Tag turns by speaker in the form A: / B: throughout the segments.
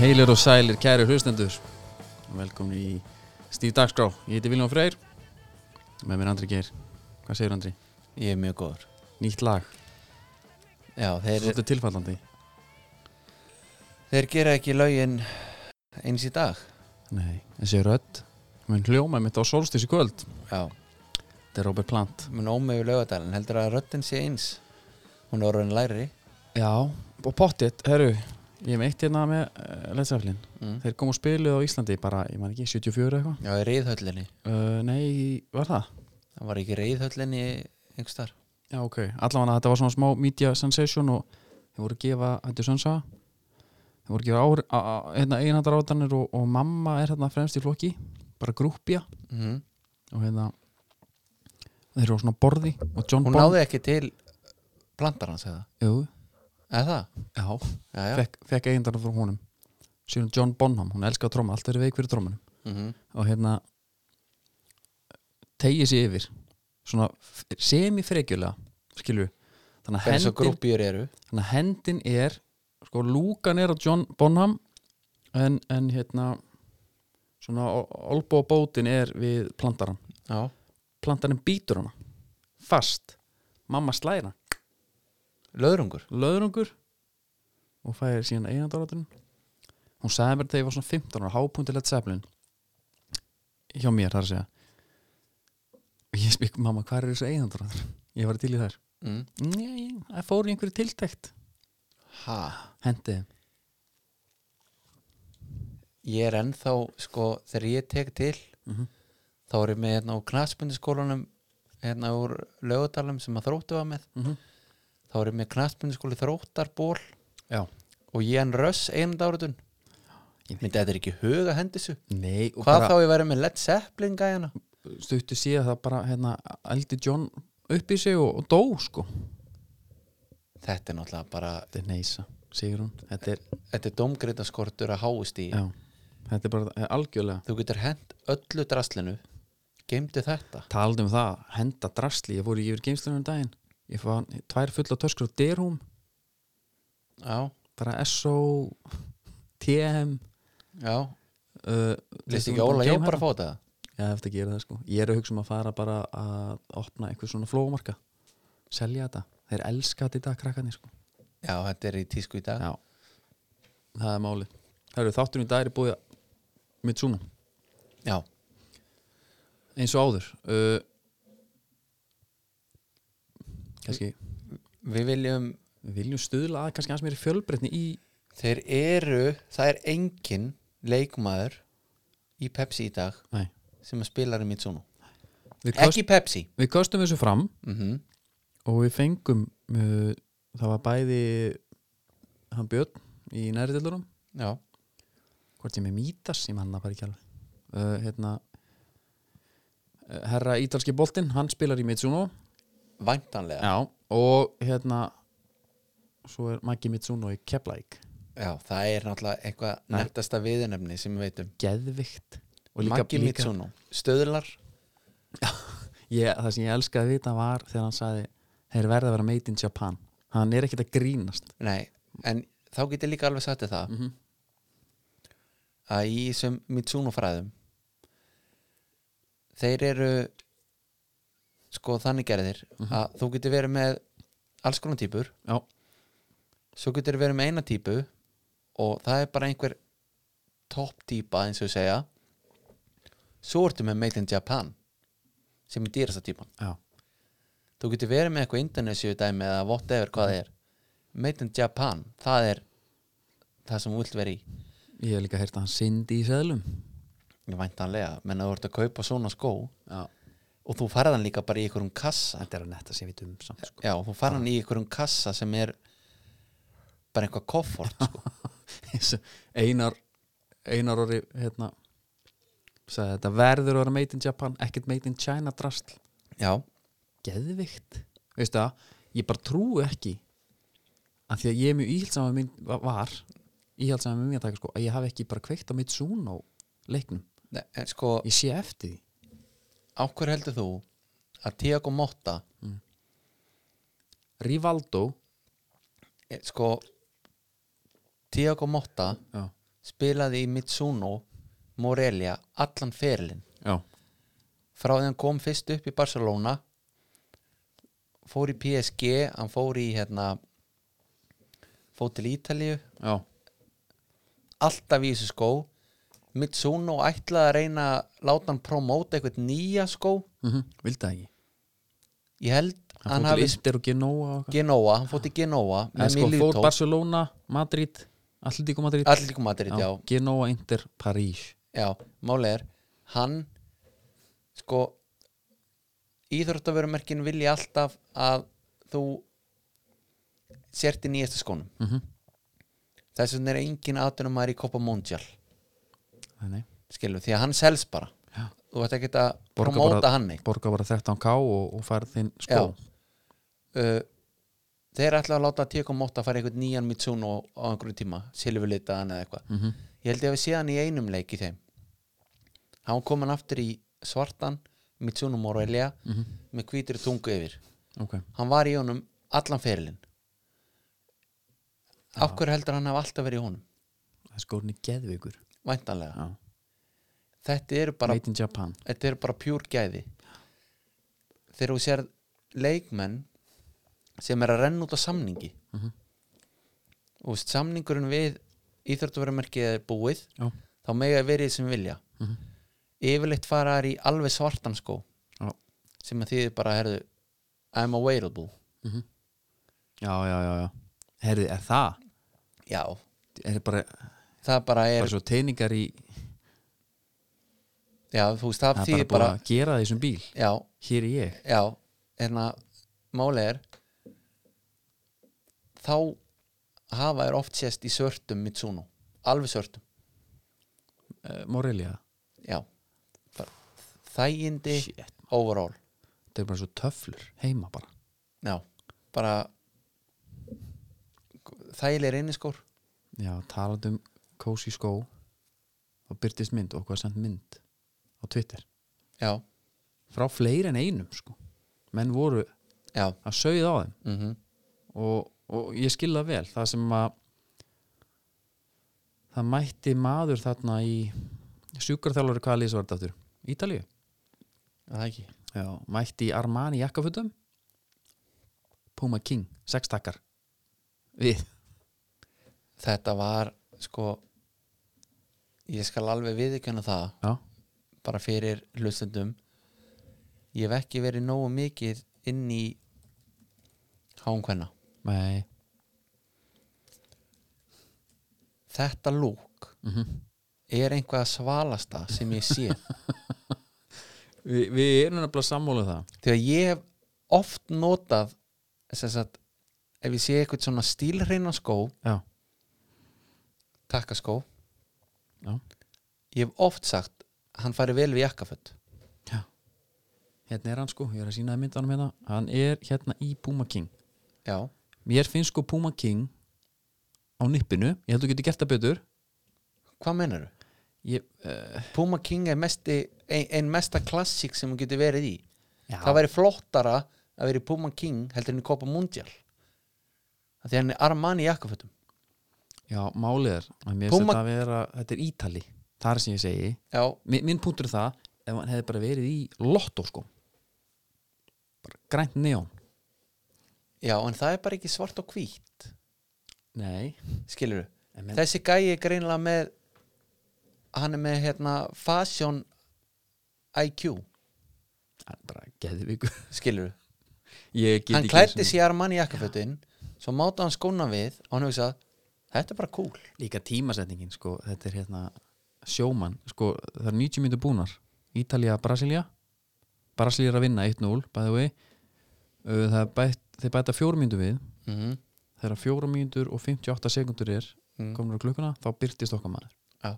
A: Heilir og sælir, kæri hlustendur Velkomin í Stíf Dagskrá Ég heiti Viljón Freyr Með mér Andri Geir Hvað segir Andri?
B: Ég er mjög góður
A: Nýtt lag
B: Já, þeir,
A: Svolítið tilfallandi
B: þeir gera ekki lögin eins í dag
A: Nei Þessi rödd Mun hljóma mitt á solstis í kvöld
B: Já,
A: Þetta er Robert Plant
B: mun ómið við lögadalinn heldur að röddinn sé eins Hún er orðin læri
A: Já Og pottitt, herru Ég er meitt hérna með uh, Letsaflin
B: mm.
A: Þeir komu og spiluð á Íslandi bara, ég man ekki, 74 eitthvað
B: Já, í reyðhöllinni
A: uh, Nei, var það?
B: Það var ekki reyðhöllinni einhvers þar
A: Já, ok. Allavega þetta var svona smá media sensation og þeir voru að gefa, þetta er sönsa, þeir voru að gefa áhr- a- a- hérna, einhandar átanir og, og mamma er hérna fremst í flokki, bara grúppja
B: mm.
A: og hérna, þeir eru á svona borði og John
B: Hún náði ekki til plantar hans eða
A: Jú,
B: Eða það?
A: já,
B: Já, já
A: fekk, fekk eigindarnar frá honum. Síðan John Bonham, hún elskar tróma, allt er veik fyrir trómanum
B: Mhm.
A: og hérna, tegið sér yfir, svona f- semifrekjulega, skilju. Þannig
B: Það er svo grúppjur eru
A: þannig að hendin er sko lúkan er á John Bonham en, en hérna svona olbó bótin er við plantaran
B: Já,
A: plantaran býtur hana fast, mamma slæra
B: löðrungur
A: löðrungur og fæðir síðan einandaráturinn hún sagði mér þegar ég var svona 15 ára hápuntilegt seflin hjá mér þar að segja og ég spyr mamma hvað er þessu einandarátur ég var til í þær
B: mm.
A: Nei, það fór í einhverju tiltækt
B: Ha,
A: hendi þeim
B: ég er ennþá sko þegar ég tek til
A: Mhm.
B: þá er ég með hérna á knaspindiskólanum hérna úr lögadalum sem að þróttu var með
A: Mhm.
B: þá erum við knastmyndiskóli þróttarból
A: Já.
B: og Jan Röss einund áratun
A: Ég veit.
B: myndi þetta er ekki huga hendisu
A: Nei, og
B: hvað þá ég væri með Led Zeppelin gæjana
A: stuttu síðan það bara hérna, eldi John upp í sig og, og dó sko
B: þetta er náttúrulega bara
A: þetta er neysa, segir hún þetta er,
B: þetta er domgreitarskortur að háist í
A: já, þetta er bara eh, algjörlega
B: þú getur hend öllu draslinu geimdi þetta
A: talandi um það, henda drasli ég fór í yfir geimstunum daginn ég fann tvær fulla töskur á derhúm
B: já,
A: bara SO, TM
B: já,
A: uh,
B: leist ekki Óla ég
A: hérna?
B: bara að fá þetta
A: já, eftir að gera það sko ég er að hugsa um að fara bara að opna einhver svona flómarka selja þetta, þeir elska þetta í dag krakkanir sko
B: já, þetta er í tísku í dag
A: Já, það er máli Það eru þátturinn í dag er búið mitt svona,
B: já,
A: eins og áður uh, Kanski
B: við viljum
A: við viljum stuðla að kannski hans meiri fjölbreytni í
B: þeir eru, það er engin leikmaður í Pepsi í dag
A: Nei,
B: sem að spilar í Mitsuno
A: við, köst,
B: ekki Pepsi
A: við köstum þessu fram
B: mm
A: Mhm. og við fengum uh, það var bæði hann Björn í næri tildurum
B: Já,
A: hvort ég með mítas, ég manna bara ekki alveg uh, hérna uh, herra ítalski boltinn, hann spilar í Mitsuno
B: væntanlega
A: Já, og hérna svo er Maggi Mitsuno í Keflæk
B: Já, það er náttúrulega eitthvað
A: Nei.
B: nettasta viðunefni sem við veitum
A: geðvikt og líka,
B: Maggi
A: líka
B: Mitsuno, stöðlar
A: ég, það sem ég elskaði að vita var þegar hann sagði þeir verða að vera made in Japan hann er ekkert að grínast
B: Nei, en þá getur líka alveg sagt þér það
A: Mhm.
B: að í þessum Mitsuno fræðum þeir eru sko þannig gerðir að þú getur verið með alls konar típur
A: Mhm. Já,
B: svo getur verið með eina típu og það er bara einhver topp típa eins og við segja svo ertu með Made in Japan sem er dýrasta típan
A: já,
B: þú getur verið með eitthvað Indonesia dæmi eða whatever hvað það er Made in Japan, það er það sem þú vilt vera í
A: ég hef líka heyrt að hann syndi í seðlum
B: ég væntanlega, menn að þú ert að kaupa svona skó
A: Já,
B: og þú farið hann líka bara í einhverjum kassa
A: þetta er að netta sem við dum samt sko.
B: já, þú farið hann í einhverjum kassa sem er bara einhvað koffort sko.
A: Eins og Einar Einar orði hérna sagði þetta verður að vera made in Japan ekkert made in China drastl
B: já,
A: geðvikt veistu það, ég bara trúi ekki að því að ég er mjög íhaldsaman minn var, íhaldsaman minn að taka sko, að ég hafi ekki bara kveikt á mitt sún á leiknum,
B: Nei, en sko
A: ég sé eftir því
B: á hverju heldur þú að Tiago Motta
A: Rivaldo
B: eh, sko Tiago e, Motta
A: já,
B: spilaði í Mitsuno Morelia allan ferilinn
A: já,
B: frá því hann kom fyrst upp í Barcelona fór í PSG hann fór í hérna fór til Ítalíu
A: já,
B: alltaf í þessu skó Mitsuno ætlaði að reyna að láta hann promóta eitthvað nýja skó
A: mm vildi það ekki
B: ég held
A: hann,
B: hann,
A: fór til
B: hafi
A: Inter og Genoa og eitthvað.
B: Genoa, hann fótti Genoa
A: en
B: með
A: sko, fór
B: Milito,
A: Barcelona, Madrid Atletico Madrid,
B: Atletico Madrid, já,
A: Genoa, Inter, París
B: já, máli er hann sko íþróttaverumerkin vilja alltaf að þú sért í nýjasta skónum
A: mm
B: þess vegna er engin aðtunum maður í Copa Mondial
A: -hmm.
B: skilu, því að hann selst bara
A: Já.
B: þú ert ekki að
A: Borga
B: promóta
A: bara-
B: hann neitt
A: borga bara 13k og, og færð þinn skó
B: uh, þeir ætla að láta Tíko Móta fara einhvern nýjan Mitsuno á einhverju tíma, silfurlitaðan eða eitthvað
A: Mhm.
B: ég held ég hafi séð hann í einum leik í þeim hann kom hann aftur í svartan Mitsuno Morelia með hvítri tungu yfir
A: ok,
B: hann var í honum allan ferilinn af hverju heldur hann hafa alltaf verið í honum
A: það er skórni geðvikur
B: væntanlega,
A: já.
B: þetta eru bara
A: Made in Japan
B: þetta eru bara pjúr gæði þegar þú sér leikmenn sem er að renna út á samningi mm
A: Mhm.
B: og veist, samningurinn við íþjóttuverumerkið er búið
A: já,
B: þá mega verið sem vilja
A: Mhm.
B: yfirleitt fara þær í alveg svartan skó
A: já,
B: sem að þýðir bara herðu, I'm available
A: Mhm. já, já, já, já. herði, er það?
B: já,
A: er það bara,
B: það bara er
A: bara svo teiningar í
B: já, þú veist,
A: það er
B: það,
A: bara
B: þýðir
A: búið
B: bara,
A: að gera það í þessum bíl
B: já,
A: hér er ég
B: já, hérna málið er þá hafa þær oft sést í svörtum Mitsuno, alveg svörtum
A: uh, Morelia,
B: já Bara þægindi
A: Shit.
B: overall
A: það er bara svo töflur heima bara
B: já, bara þægilegir inniskór
A: já, talandi um cozy skó þá byrtist mynd og hvað sent mynd á Twitter
B: já,
A: frá fleiri en einum sko menn voru
B: já,
A: að sauða á þeim
B: mm
A: og, og ég skil það vel það sem að það mætti maður þarna í sjúkarþjálfari hvaða lýs var þetta aftur? Ítalíu?
B: það ekki
A: Já, mætti í Armani jakkafutum Puma King, sex takkar við,
B: þetta var sko ég skal alveg viðurkenna það
A: já,
B: bara fyrir hlustendum ég hef ekki verið nógu mikið inn í hánkvenna
A: nei
B: þetta lúk
A: mm
B: er einhvað að svalasta sem ég sé
A: Vi, við erum nefnilega sammálið það
B: þegar ég hef oft notað sem sagt ef ég sé eitthvað svona stílreina skó
A: já,
B: takkaskó
A: já,
B: ég hef oft sagt hann fari vel við jakkaföld
A: já hérna er hann sko, ég er að sína það myndanum hérna hann er hérna í Puma King
B: já,
A: mér finnst sko Puma King á nippinu, ég held að þú getur gert það betur
B: hvað mennur
A: ég, uh,
B: Puma King er mesti, ein, ein mesta klassík sem hún getur verið í
A: já,
B: það væri flottara að vera í Puma King heldur en í Copa Mundial af því hann er Armani í jakkafötum
A: Já, málið er að mér Puma...
B: Puma-
A: þetta vera, þetta er Ítali það er sem ég segi,
B: já,
A: Mi, minn punktur er það ef hann hefði bara verið í lottó sko bara grænt neón
B: já, en það er bara ekki svart og hvít
A: Nei,
B: skilur
A: En menn-
B: þessi gæi er greinlega með hann er með hérna fashion IQ
A: það er bara geðvíku
B: skilur
A: Ég get
B: hann
A: ekki
B: klætti
A: þessum-
B: sér Armani í jakkafötin svo máta hann skóna við og hann hugsaði þetta er bara cool
A: Líka tímasetningin sko, þetta er hérna sjómann, sko, það er 90 mínútur búnar Ítalía, Brasilia Brasilia er að vinna 1-0, by the way Uh, það er bætt, þeir bæta fjórum mínútur við
B: mm -hmm.
A: Mhm. þegar fjórum mínútur og 58 sekundur er
B: Mm.
A: komin á klukkuna, þá byrtist okkar maður
B: ég,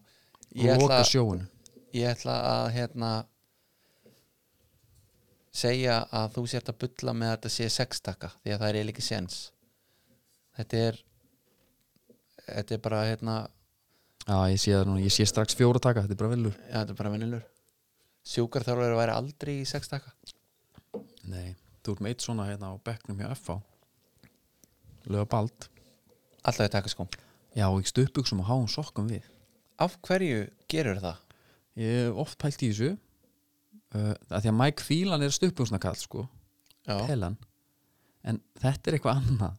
A: og
B: ætla,
A: loka sjóinu
B: ég ætla að hérna segja að þú sért að bulla með að þetta sé sextaka því að það er eiginlega ekki sens þetta er þetta er bara hérna
A: Já, ég sé það núna, ég sé strax fjóra taka, þetta er bara velur
B: já, þetta er bara vinnilur sjúkar þarf að vera aldrei í sextaka
A: Nei, þú ert með eitt svona hérna á bekknum hjá FH Löga bald
B: alltaf í takaskóm
A: Já, og ekki stupuksum og háum um sokkum við
B: af hverju gerur það?
A: Ég hef oft pælt í þessu uh, að því að Mike Phelan er stuppbúsnakall sko,
B: Já,
A: Phelan en þetta er eitthvað annað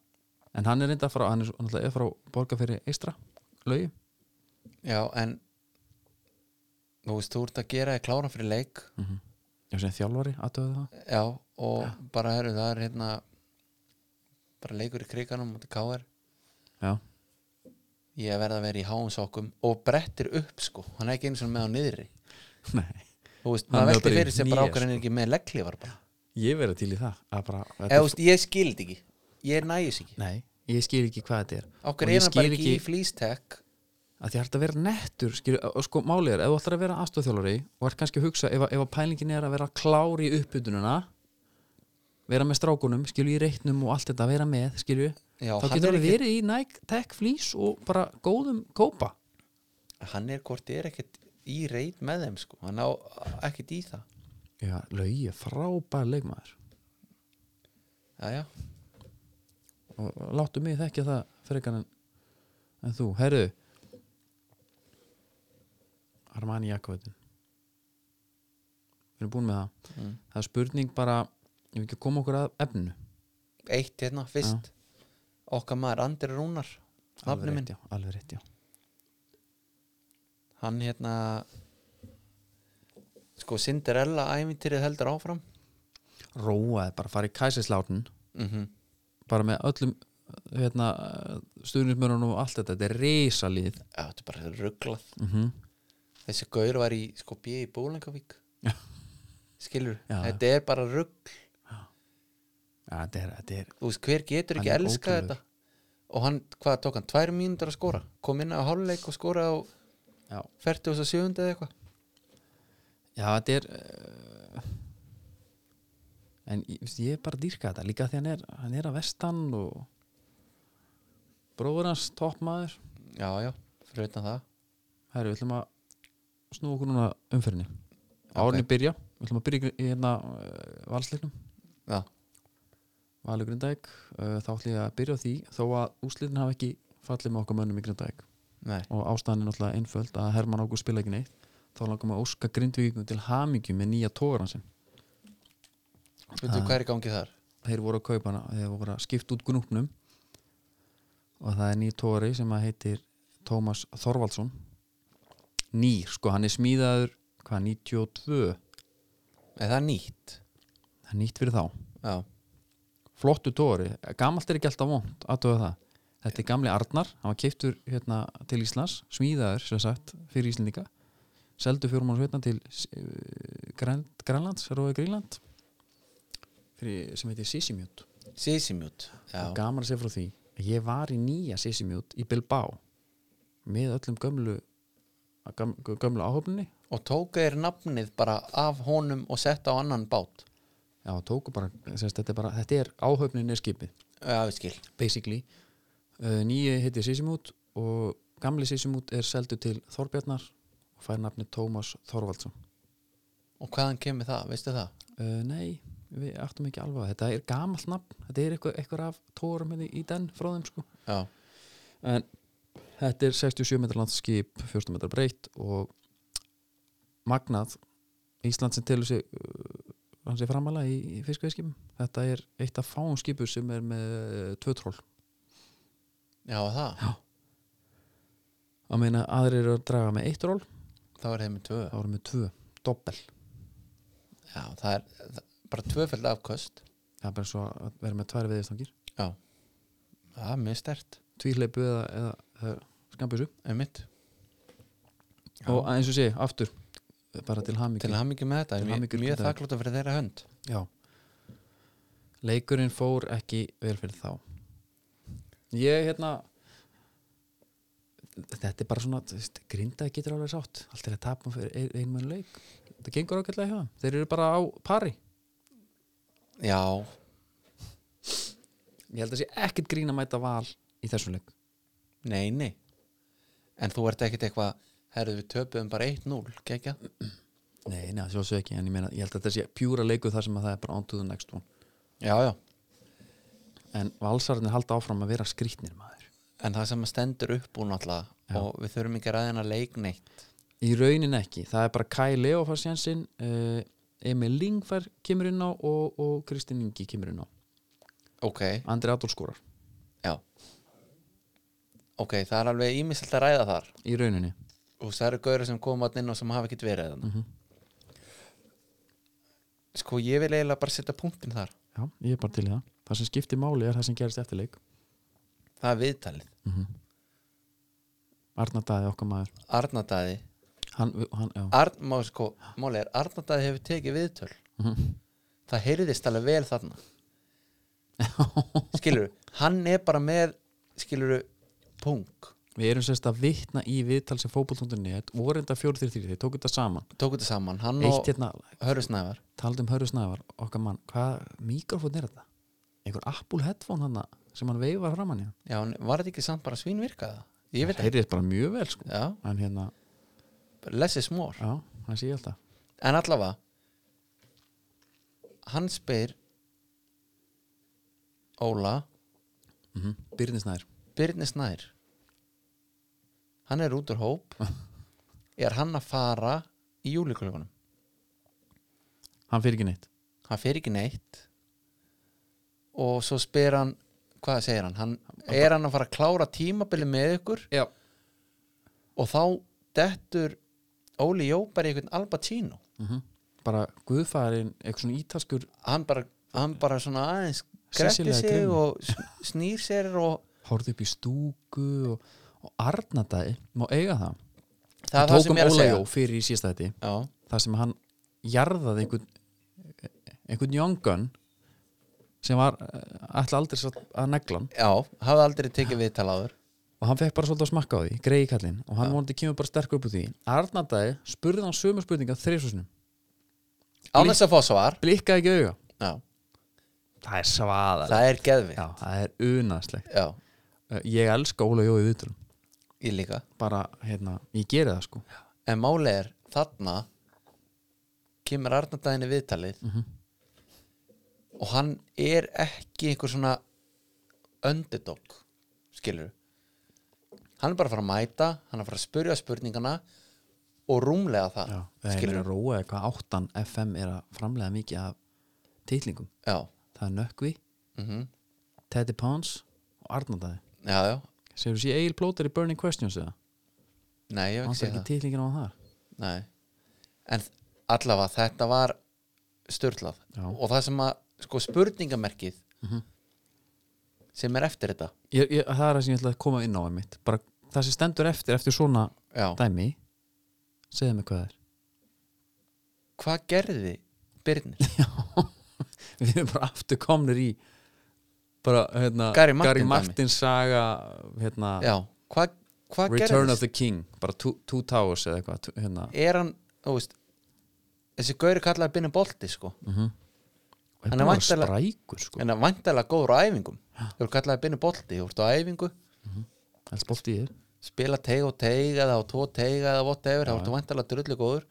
A: en hann er reynda frá, hann er svo- náttúrulega er frá borga fyrir eistra, lögi
B: já en þú veist, þú ert að gera þig klára fyrir leik
A: Mhm. Já, sem þjálfari, aðtöðu það
B: já, og bara herru, það er hérna bara leikur í kriganum mútið káir
A: Já,
B: ég verð að vera í háum sokkum og brettir upp sko, hann er ekki einu svona með á niðri
A: nei
B: þú veist,
A: Hann
B: maður
A: er
B: velti
A: bara í
B: fyrir sér
A: hné,
B: bara ákvæðan
A: sko.
B: er ekki með legglífar bara
A: Ég verið til í það að bara,
B: eða þú veist, ég skildi ekki, ég nægis ekki
A: Nei, ég skil ekki hvað þetta er
B: ákvæðan
A: Og ég
B: er hann bara
A: skil
B: ekki í flýstek
A: að því að þetta að vera nettur skil, og sko málið er, ef þú ætlar að vera aðstofþjálfari og ert kannski að hugsa ef, að- ef að pælingin er að vera klár í uppbytununa vera með strákunum, skilju í reitnum og allt þetta, vera með, skilju
B: já,
A: þá
B: hann
A: getur
B: er,
A: það
B: ekki,
A: verið í Nike Tech Fleece og bara góðum kópa
B: hann er hvort er ekkert í reit með þeim sko, hann á ekkert í það
A: Já, laugi, frábær leikmaður
B: já, já,
A: og láttu mig þekkja það frekar en, en þú, herðu Armani Jakobettin Við erum búin með það
B: Mm.
A: Það er spurning bara ég vil ekki að koma okkur að efnu
B: eitt hérna, fyrst okkar maður Andri Rúnar nafni minn,
A: rétt, já, alveg rétt, já
B: hann hérna sko Cinderella ævintýrið heldur áfram
A: Róaði bara, farið kæsislátun
B: mm
A: bara með öllum hérna, stuðnismörunum og allt þetta þetta er risalið
B: já, þetta er bara rugglað
A: mm
B: þessi gaur var í sko bíði í Búlangavík
A: Já.
B: skilur,
A: Já, já.
B: þetta er bara rugg
A: ja, þetta, er, þetta er
B: þú veist, hver getur ekki
A: Hann er
B: elska
A: ótrúlegur.
B: þetta og hann, hvað tók hann, tvær mínútur að skora kom inn á háluleik og skora á
A: Já.
B: 47. eða eitthvað
A: Já, þetta er uh, En ég, veist, ég er bara að dýrka þetta Líka því hann er, hann er að vestan og bróður hans toppmaður
B: já, já, fyrir utan það
A: Herru, við ætlum að snúa okkur núna umfyrinni Árni byrja, við ætlum að byrja í hérna uh, valsleiknum
B: já,
A: Valur Grindæk, uh, þá ætlum ég að byrja á því þó að úslitin hafa ekki fallið með okkar mönnum í Grindæk
B: nei,
A: og ástæðan er náttúrulega einföld að Herman Ágúst spila ekki neitt þá langum að óska Grindvíkum til hamingju með nýja tógaransin
B: veitum
A: Ah.
B: hvað er í gangi þar
A: þeir voru að kaupa hana þeir voru að skipta út gnúpnum og það er nýr tóri sem að heitir Tómas Þorvaldsson nýr, sko hann er smíðaður hvað, 92
B: eða það er nýtt
A: það er nýtt fyrir þá,
B: já,
A: flottu tóri gamalt er ekki alltaf vond, aðtöða það þetta er gamli Arnar, hann var keiptur hérna, til Íslands, smíðaður sem sagt fyrir Íslandinga seldu fjórum hans veitna hérna til eh, Grænl- Grænlands, Róði Grínland fyrir, sem heitir Sisimjönd
B: sísimjút já,
A: og gaman að segja frá því að ég var í nýja Sisimjút í Bilbao með öllum gömlu göm, gömlu áhöfninni
B: og tóka þér nafnið bara af honum og setta á annan bát
A: já, tóku bara, semst, þetta er bara þetta er áhöfninni er skipið,
B: já, við skil
A: basically uh, nýja heitir Sisimjút og gamli Sisimjút er seldu til Þorbjarnar og fær nafni Tómas Þorvaldsson
B: og hvaðan kemur það, veistu það
A: uh, nei, við áttum ekki alveg á það. þetta er gamalt nafn, þetta er eitthvað, eitthvað af tórum hérna í den frá þeim sko
B: já,
A: en þetta er 67 metrar langt skip 14 metrar breytt og magnað Ísland sem telur sig uh, hans er framalega í, í fiskveiskipum þetta er eitt af fáum skipur sem er með uh, tvö tról
B: já það,
A: að meina aðrir eru að draga með eitt tról
B: þá er þeim með tvö
A: þá eru með tvö, doppel
B: já, það er það, bara tvöfæld afköst
A: það er bara svo að vera með tvær veðistangir
B: það er mjög stert,
A: tvíhleipu eða, eða, eða skambjössu
B: einmitt Já.
A: og eins og sé, aftur bara til hamingi
B: til hammingi með þetta,
A: Til
B: ég er
A: hamingju
B: mjög, mjög
A: með þetta.
B: þakklúta fyrir þeirra hönd
A: Já Leikurinn fór ekki vel fyrir þá Ég hérna Þetta er bara svona þú veist, Grinda getur alveg sátt Allt er að tapa fyrir ein- einum einu leik Það gengur ágætlega hjá þeim Þeir eru bara á pari
B: já,
A: Ég held að sé ekkert grín að mæta val í þessum leik
B: nei, nei en þú ert ekkit eitthvað herðu við töpuðum bara 1-0, kekja
A: Nei, neða, sjálfsög ekki En ég, meina, ég held að þetta sé pjúra leiku þar sem að það er bara on to the next one
B: já, já,
A: En valsararnir halda áfram að vera skrýtnir maður
B: en það sem að stendur upp úr
A: Já.
B: náttúrulega og við þurfum ekki að ræða hennar leik neitt
A: í raunin ekki, það er bara Kai Leo fær sjansinn, uh, Emil Ling fær kemur inn á og, og Kristinn Ingi kemur inn á,
B: ok,
A: Andri Adolf skorar
B: já ok, það er alveg ímislegt að ræða þar
A: í rauninni,
B: og það eru gauður sem koma inn og sem hafa ekkert verið mm
A: Mhm.
B: sko ég vil eiginlega bara setja punktin þar
A: já, ég er bara til í það það sem skiptir máli er það sem gerist eftir leik
B: það er viðtalið,
A: Mhm. Arnar Dæði okkar maður
B: Arnardæði
A: hann, hann, já,
B: Arn, má, sko, máli er Arnardæði hefur tekið viðtöl
A: Mhm.
B: það heyrðist alveg vel þarna skilur, hann er bara með skilur, punk
A: við erum sérst að vitna í viðtal sem fótboll.net voru enda 4-3-3, þeir tóku þetta saman
B: tóku þetta saman, hann
A: eitt
B: og
A: hérna,
B: Hörður Snævar
A: taldi um Hörru Snævar okkar mann, hvað mikrofón er þetta? einhver Apple headphone hann sem hann veifar fram hann
B: já, en var þetta ekki samt bara svínvirkaða ég veit
A: það
B: ekki,
A: er bara mjög vel sko
B: já,
A: en hérna,
B: less is more
A: já, hann sé ég alltaf
B: en allavega hann spyr Óla
A: mm -hmm. Byrnisnær
B: Birnir Snær hann er út úr hóp er hann að fara í júlikulunum
A: hann fyrir ekki neitt
B: hann fer ekki neitt og svo spyr hann hvað segir hann, hann er hann að fara að klára tímabili með ykkur
A: já.
B: og þá dettur Óli Jó bara í einhvern Albatino
A: bara guðfærin, eitthvað svona ítaskur
B: hann bara, hann bara svona aðeins
A: Sýsilega
B: gretti sig
A: grimmur.
B: og s- snýr sér og
A: horfði upp í stúku og, og Arnardæði má eiga það
B: það er það
A: tókum
B: sem ég er að segja
A: Jó fyrir í sísta þetta
B: já,
A: það sem hann jarðaði einhvern einhvern jóngan sem var alltaf aldrei satt að neglan
B: já, hafði aldrei tekið viðtal áður
A: og hann fekk bara svolítið að smakka á því, greiði kallinn og hann vonandi kemur bara sterkur upp úr því Arnardæði spurði hann sömu spurninga þrjusunum,
B: án þess að fá svar
A: blikkaði ekki auga
B: já,
A: það er svaðar,
B: það er geðvikt
A: já, það er unaslegt
B: já,
A: Eh, ég elska Óla Jói viðtölum
B: ég líka
A: bara, hérna, ég geri það sko
B: en máli er þarna kemur Arnardæðinni viðtalið
A: Mhm.
B: og hann er ekki einhver svona underdog skilur hann er bara að fara að mæta hann er að fara að spurja spurningana og rúmlega það
A: það er
B: skilur
A: að róa eða hvað áttan FM er að framlega mikið af titlingum
B: já,
A: það er Nökkvi,
B: mm
A: Teddy Pons og Arnardæði
B: já, já,
A: Segir þú sé Egil Plóter í Burning Questions eða?
B: nei ég hef
A: Hann fyrir
B: ekki séð
A: ekki
B: það
A: titlingin á þar
B: nei. en allavega þetta var störtlað
A: Já. Mhm.
B: og það sem að sko spurningamerkið sem er eftir þetta
A: ég, ég, Það er það sem ég ætla að koma inn á einmitt bara það sem stendur eftir eftir svona
B: já,
A: dæmi segðu mig hvað það
B: hvað gerði Birnir?
A: er Við erum bara aftur komnir í bara hérna
B: Gary Martin dæmi.
A: Martin saga hérna
B: Já, hvað hva
A: Return of the King bara Two, two Towers eða eitthvað tú- hérna.
B: Er hann, þú veist þessi gauri kallaði Binni Bolti sko
A: Mhm. hann er
B: er
A: bara
B: væntanlega-
A: strækur sko.
B: en hann vantalega góður á æfingum þú eru kallaði Binni Bolti, þú ert á æfingu
A: helst bótt í þér
B: spila teig og teig eða á tvo teig eða whatever, þá ertu vantalega drullu góður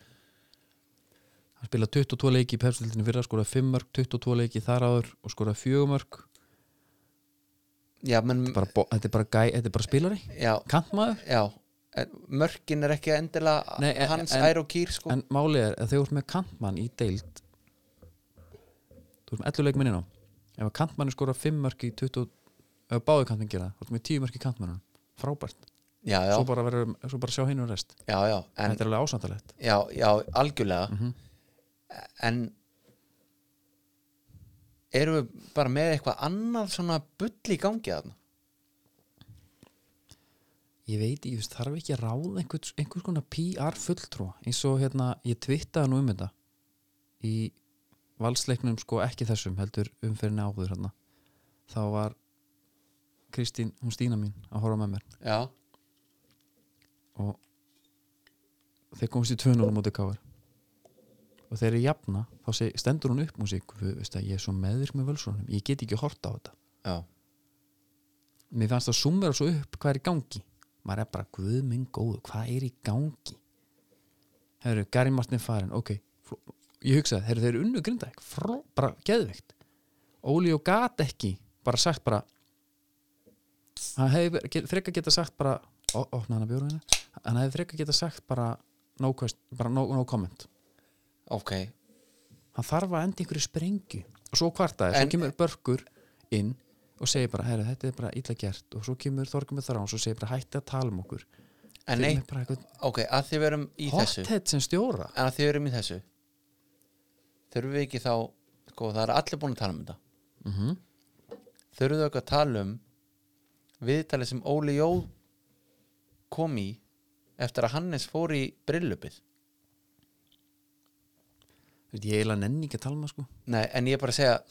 A: hann spilaði 22 leiki í pepsildinu fyrra skoraði 5 mörg, 22 leiki þar áður og skoraði 4 mörg
B: Já, menn,
A: bara, bo- þetta, er bara gæ, þetta er bara spilari
B: já,
A: kantmaður
B: já en mörkin er ekki endilega
A: Nei, en-
B: hans
A: en-
B: ær og kýr sko
A: en málið er að þegar þú ert með kantmann í deild þú ert með 11 leikminn inn á ef að kantmann skoraði 5 mörg í 20 ef báði kantmann gera það, þú ert með 10 mörg í kantmannum frábært,
B: Já, já,
A: svo bara, verður, svo bara sjá hinn og rest
B: já, já en,
A: þetta er Mhm. alveg ásandalegt
B: já, já, algjörlega en erum við bara með eitthvað annað svona bull í gangi þarna
A: ég veit, ég veist, þarf ekki að ráða einhvers, einhvers konar PR fulltrúa eins og hérna, ég twittaði nú um þetta í valsleiknum sko ekki þessum, heldur umferðinni áður hérna, þá var Kristín, hún Stína mín að horfa með mér
B: Já,
A: og þeir komast í 2-0 mútið káar og þeir eru jafna þá seg, stendur hún upp músík veist að ég er svo meðvirk með völsónum, ég get ekki horta á þetta
B: já,
A: mér fannst það sumera svo upp hvað er í gangi maður er bara, guð minn góðu, hvað er í gangi herru, Gary Martin er farin ok, fló- ég hugsaði, herru, þeir eru unnu grinda fró, bara geðveikt Óli og gat ekki bara sagt bara hann hefði get- frekar geta sagt bara ó, opna hann að bjóra henni hann hefði frekar geta sagt bara no, quest, bara no, no comment
B: ok,
A: hann þarf að enda í einhverju sprengju og svo kvartaði,
B: En-
A: svo kemur börkur inn og segir bara, herru, þetta er bara illa gert og svo kemur Þorgum með þrán og svo segir bara hætti að tala um okkur
B: en
A: Fyrir
B: nei
A: mig bara eitthvað
B: ok, að því við erum í þessu
A: hothead sem stjóra
B: en að því við erum í þessu þurfum við ekki þá sko, það er allir búin að tala um þetta
A: mm -hmm.
B: þurfum við ekki að tala um viðtalið sem Óli Jó kom í eftir að Hannes fór í brillupið
A: ég eiginlega nenni ekki að tala um það sko
B: nei, en ég er bara að segja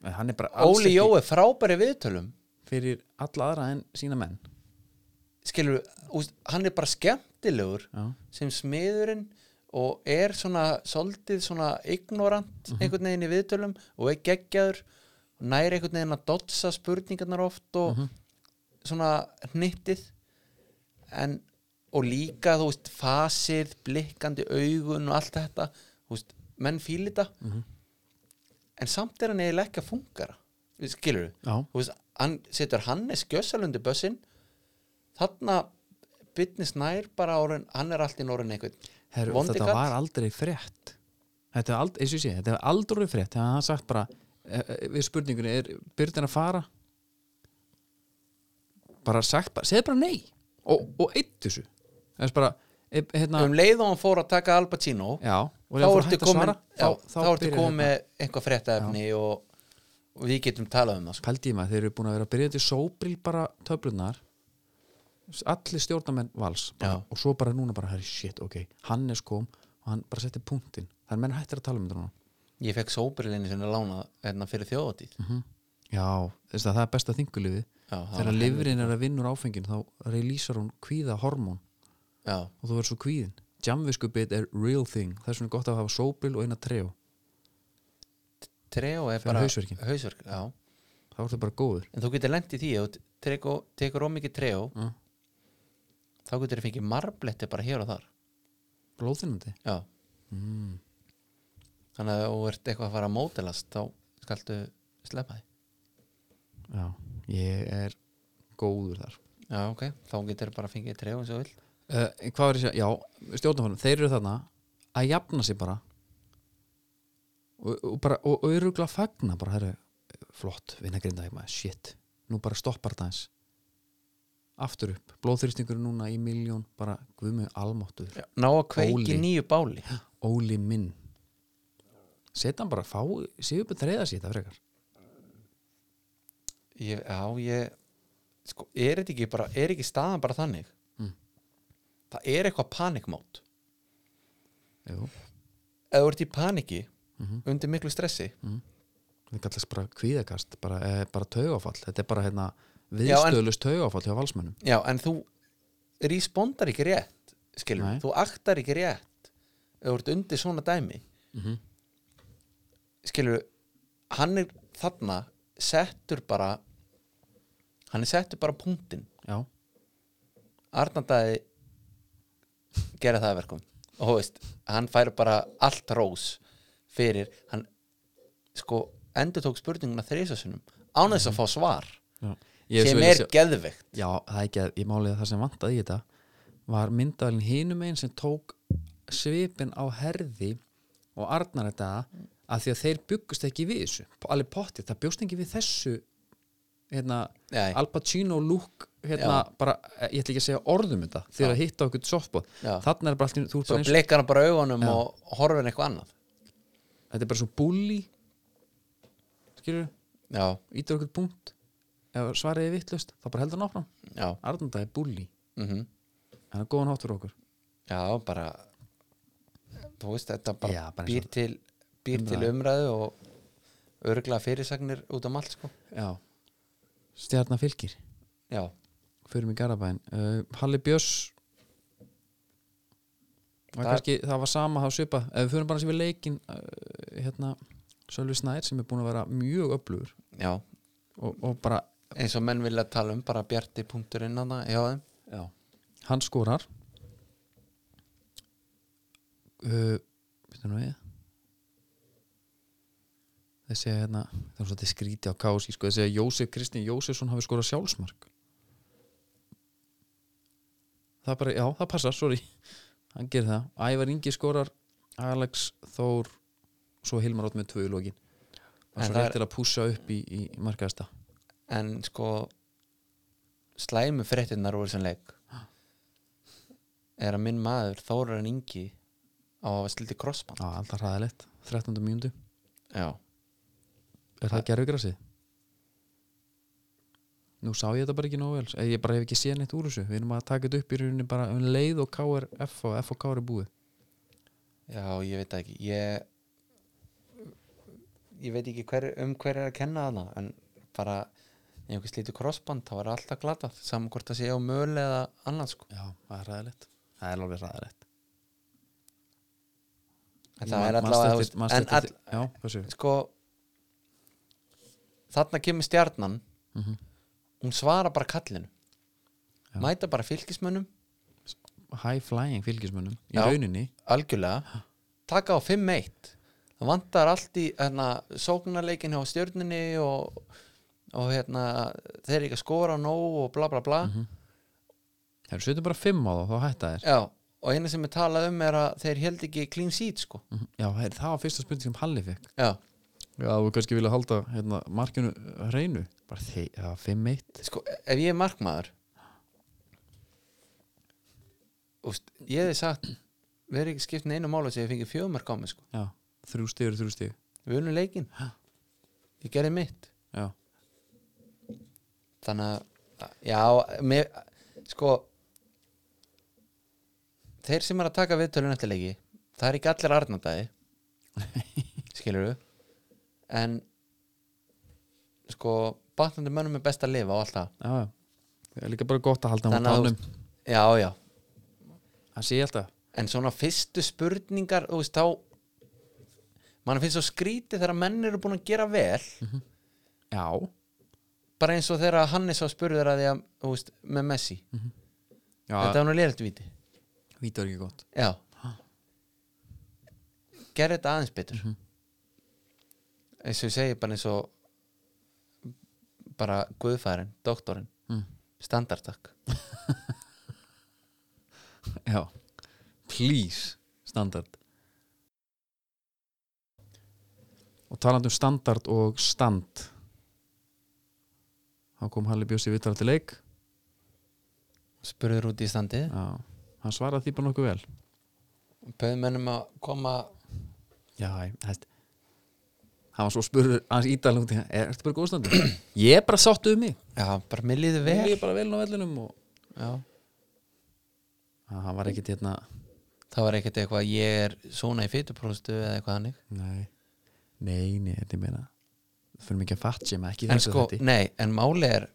A: En hann er bara alls
B: Óli Jó er frábæri í viðtölum
A: fyrir alla aðra en sína menn
B: skilur, hann er bara skemmtilegur
A: já,
B: sem smiðurinn og er svona soldið svona ignorant einhvern veginn í viðtölum og er geggjaður og nær einhvern veginn að dotsa spurningarnar oft og
A: Mhm.
B: svona hnittið en og líka þú veist fasið, blikkandi augun og allt þetta þú veist, menn fíli þetta
A: Mhm.
B: en samt er hann eiginlega ekki að fungara skilur við
A: já,
B: þú veist, hann setur Hannes gjössalundi bössin þarna Bitni Snær bara orðin, hann er allt í norðin einhvern
A: Heru,
B: Vondi
A: þetta
B: kall?
A: var aldrei frétt þetta var aldrei, eins og ég sé, þetta var aldrei frétt þannig að hann sagt bara eh, eh, við spurningunni, er byrðin að fara bara sagt bara, segð bara nei og, og eitt þessu þess bara, eh, hérna
B: um leið og hann fór að taka Al Pacino
A: já, og
B: þá
A: þegar hann fór að
B: ertu
A: hætta að
B: komin
A: svara,
B: já, þá, ertu
A: byrjar
B: komin
A: hérna.
B: með eitthvað fréttaefni og, og við getum talað um það sko.
A: pældi ég maður, þeir eru búin að vera að byrja til sóbril bara töflunar allir stjórnamenn vals bara,
B: Já.
A: og svo bara núna bara, herri shit, ok Hannes kom og hann bara setti punktinn það er menn hættir að tala um þetta núna
B: ég fekk sóbrilinni sinni lána hérna fyrir þjóðatíð
A: já, þess að það er besta þingulífið
B: Já, það
A: þegar livrin er að vinna úr áfengin þá releasar hún kvíða hormón
B: já,
A: og þú verður svo kvíðin jamviskubit er real thing, þess vegna er gott að hafa sóbril og eina treo,
B: treo er
A: Fyrir
B: bara
A: hausverkinn.
B: hausverk, já.
A: þá er það bara góður
B: en þú getur lent í því ef þú tekur, tekur ómikið treo
A: Mm.
B: þá getur þið fengið marbletti bara hér og þar
A: blóðinandi,
B: Já Þannig að ef þú ert eitthvað að fara að mótelast þá skaltu sleppa því
A: já, ég er góður þar
B: Já, ok, þá getur bara að fengið tref eins og þú vill
A: Uh, hvað var ég að segja, já, stjórnumfærum þeir eru þarna að jafna sig bara og, og bara og, og örugla fagna bara, herru, flott, vinna grindaði maður, shit, nú bara stoppar það eins aftur upp blóðþrýstingur er núna í miljón bara guðmu almáttur,
B: Ná að kveiki
A: Bóli.
B: nýju báli
A: óli minn setja hann bara, fá séu upp að þreyða sér þetta frekar
B: ég, Já, ég sko, er þetta ekki bara, er ekki staðan bara þannig
A: Mm.
B: Það er eitthvað panikmót
A: Jú,
B: Ef þú ert í paniki
A: Mhm.
B: undir miklu stressi
A: það kallast bara kvíðakast bara, eh, bara taugafall, þetta er bara hérna
B: Já, en-
A: viðstöðlust taugafall hjá valsmönnum
B: Já, en þú respondar ekki rétt skilur,
A: Nei.
B: Nei. þú aktar ekki rétt ef þú ert undir svona dæmi
A: Mhm.
B: skilur hann er þarna settur bara hann er settur bara punktin
A: já,
B: Arnandæði gera það að verkum og þú veist, hann fær bara allt rós fyrir hann sko endur tók spurninguna þrísasunum án þess að fá svar
A: já. Ég
B: sem
A: svo vilja
B: er
A: sjá-
B: geðveikt
A: Já, það er ekki að ég málið að það sem vantaði í þetta var myndavælinn hinum einn sem tók svipin á herði og arnar þetta að því að þeir byggust ekki við þessu alveg pottið, það bjóst ekki við þessu hérna,
B: Nei.
A: Al Pacino lúk hérna, bara, ég ætla ekki að segja orðum þetta þegar að hitta okkur softbot
B: Já.
A: þannig er bara allt, í einu- þú ert
B: svo
A: bara eins
B: blikkar hann bara augunum og horfir eitthvað annað
A: þetta er bara svo búli skilur,
B: já,
A: ítur okkur punkt ef svariði vittlust, þá bara heldur hann áfram
B: já,
A: Arnar þetta er búli,
B: mhm
A: hann er góðan hátt fyrir okkur
B: Já, bara þú veist, þetta bara,
A: Já, bara eins
B: býr til býr til umræðu og örgla fyrirsagnir út um allt sko
A: Já Stjarnar fylgir,
B: Já,
A: förum í Garabæn uh, Halli Björs var
B: Það-
A: kannski, það var sama það svipa, ef við förum bara sem við leikin uh, hérna Sölvi Snær sem er búin að vera mjög öflugur
B: já,
A: og, og bara
B: eins og menn vilja tala um bara bjarti punktur innan það, já,
A: Já. hann skorar uh, veitum nú við þessi hérna það er svolítið skríti á kási sko, þessi að Jósef Kristín Jósefsson hafi skorað sjálfsmark það bara, já, það passar, sorry hann gerir það, Ævar Ingi skorar Alex Þór svo Hilmar Ótt með tvö í lokin og
B: En
A: svo
B: það
A: réttir að pússa upp í, í markaðasta
B: en sko slæmu fréttinnar úr þessum leik er að minn maður Þórarinn Ingi á að sliti krossband
A: Já, alltaf hræðilegt, 13. mínútu
B: já,
A: Er það gerfugrasið? Nú sá ég þetta bara ekki nógu vel Eh, Ég bara hef ekki séð neitt úr þessu Við erum að taka þetta upp í rauninni bara um leið og KRF og F og KR er búið
B: já, ég veit það ekki ég ég veit ekki hver, um hver er að kenna hana en bara ef einhver slítur krossband þá er alltaf glatað saman hvort það sé á möl eða annað sko
A: Já, það er hræðilegt Það er alveg hræðilegt
B: en það er allavega þú veist, en all,
A: Já, hversu?
B: sko þarna kemur stjarnan hún svarar bara kallinu
A: Mhm. Já.
B: mæta bara fylgismönnum
A: High flying fylgismönnum Í
B: Já.
A: rauninni
B: algjörlega taka á 5-1 það vantar allt í hérna, sóknarleikin hjá stjörninni og, og hérna þeir eru ekki að skora nóg og bla bla bla
A: Það eru setjum bara fimm á þá, þá hætta þér
B: já, og eina sem er talað um er að þeir held ekki clean seat sko
A: Mhm. Já, heyrðu, það var fyrsta spurning sem Halli fekk
B: já,
A: Já, þú kannski vilja halda hérna, markinu eh, hreinu Bara þeir, það var fimm eitt
B: sko, ef ég er markmaður úst, ég hefði sagt við erum ekki skipt neina mála sem ég fengið fjögumark á mig sko,
A: Já, þrjú stig eru þrjú stig
B: við unum leikin ég gerði mitt
A: Já,
B: þannig að, já mér, sko þeir sem er að taka viðtölun eftir leiki, það er ekki allir arnandæði skilur við en sko, batnandi mönnum er best að lifa og allt það,
A: já, já Það er líka bara gott að halda hann á
B: Þannig að
A: tánum
B: já, já
A: Það sé ég alltaf
B: en svona fyrstu spurningar þú veist þá mann finnst svo skrítið þegar menn eru búin að gera vel
A: Já,
B: bara eins og þegar Hannes á spurður að því að, þú veist, með Messi
A: já
B: þetta var nú lérið viti
A: víti var ekki gott
B: já gerði þetta aðeins betur
A: Mhm.
B: eins og ég segi bara eins og bara guðfærin, doktorinn
A: Mm.
B: standardtak
A: Já, please Standard Og talandi um standard og stand Þá kom Halli Bjössi vittar til leik
B: spurður út í standið
A: Já, hann svaraði því bara nokkuð vel
B: bauð mennum að koma
A: Já, hætt Hann var svo spurður hans ítalum til Er þetta bara í góðu standi? ég er bara sáttu um mig
B: já, bara mér líður
A: Ég
B: vel
A: er bara vel á vellinum og
B: já
A: Já, hann var ekkit hérna
B: Það var ekkert eitthvað ég er svona í fytupróstu eða eitthvað hannig
A: Nei, nei, nei, þetta ég meina Það fyrir mikið að fatt sem ekki í
B: En
A: þessu
B: sko,
A: þætti.
B: nei, en máli er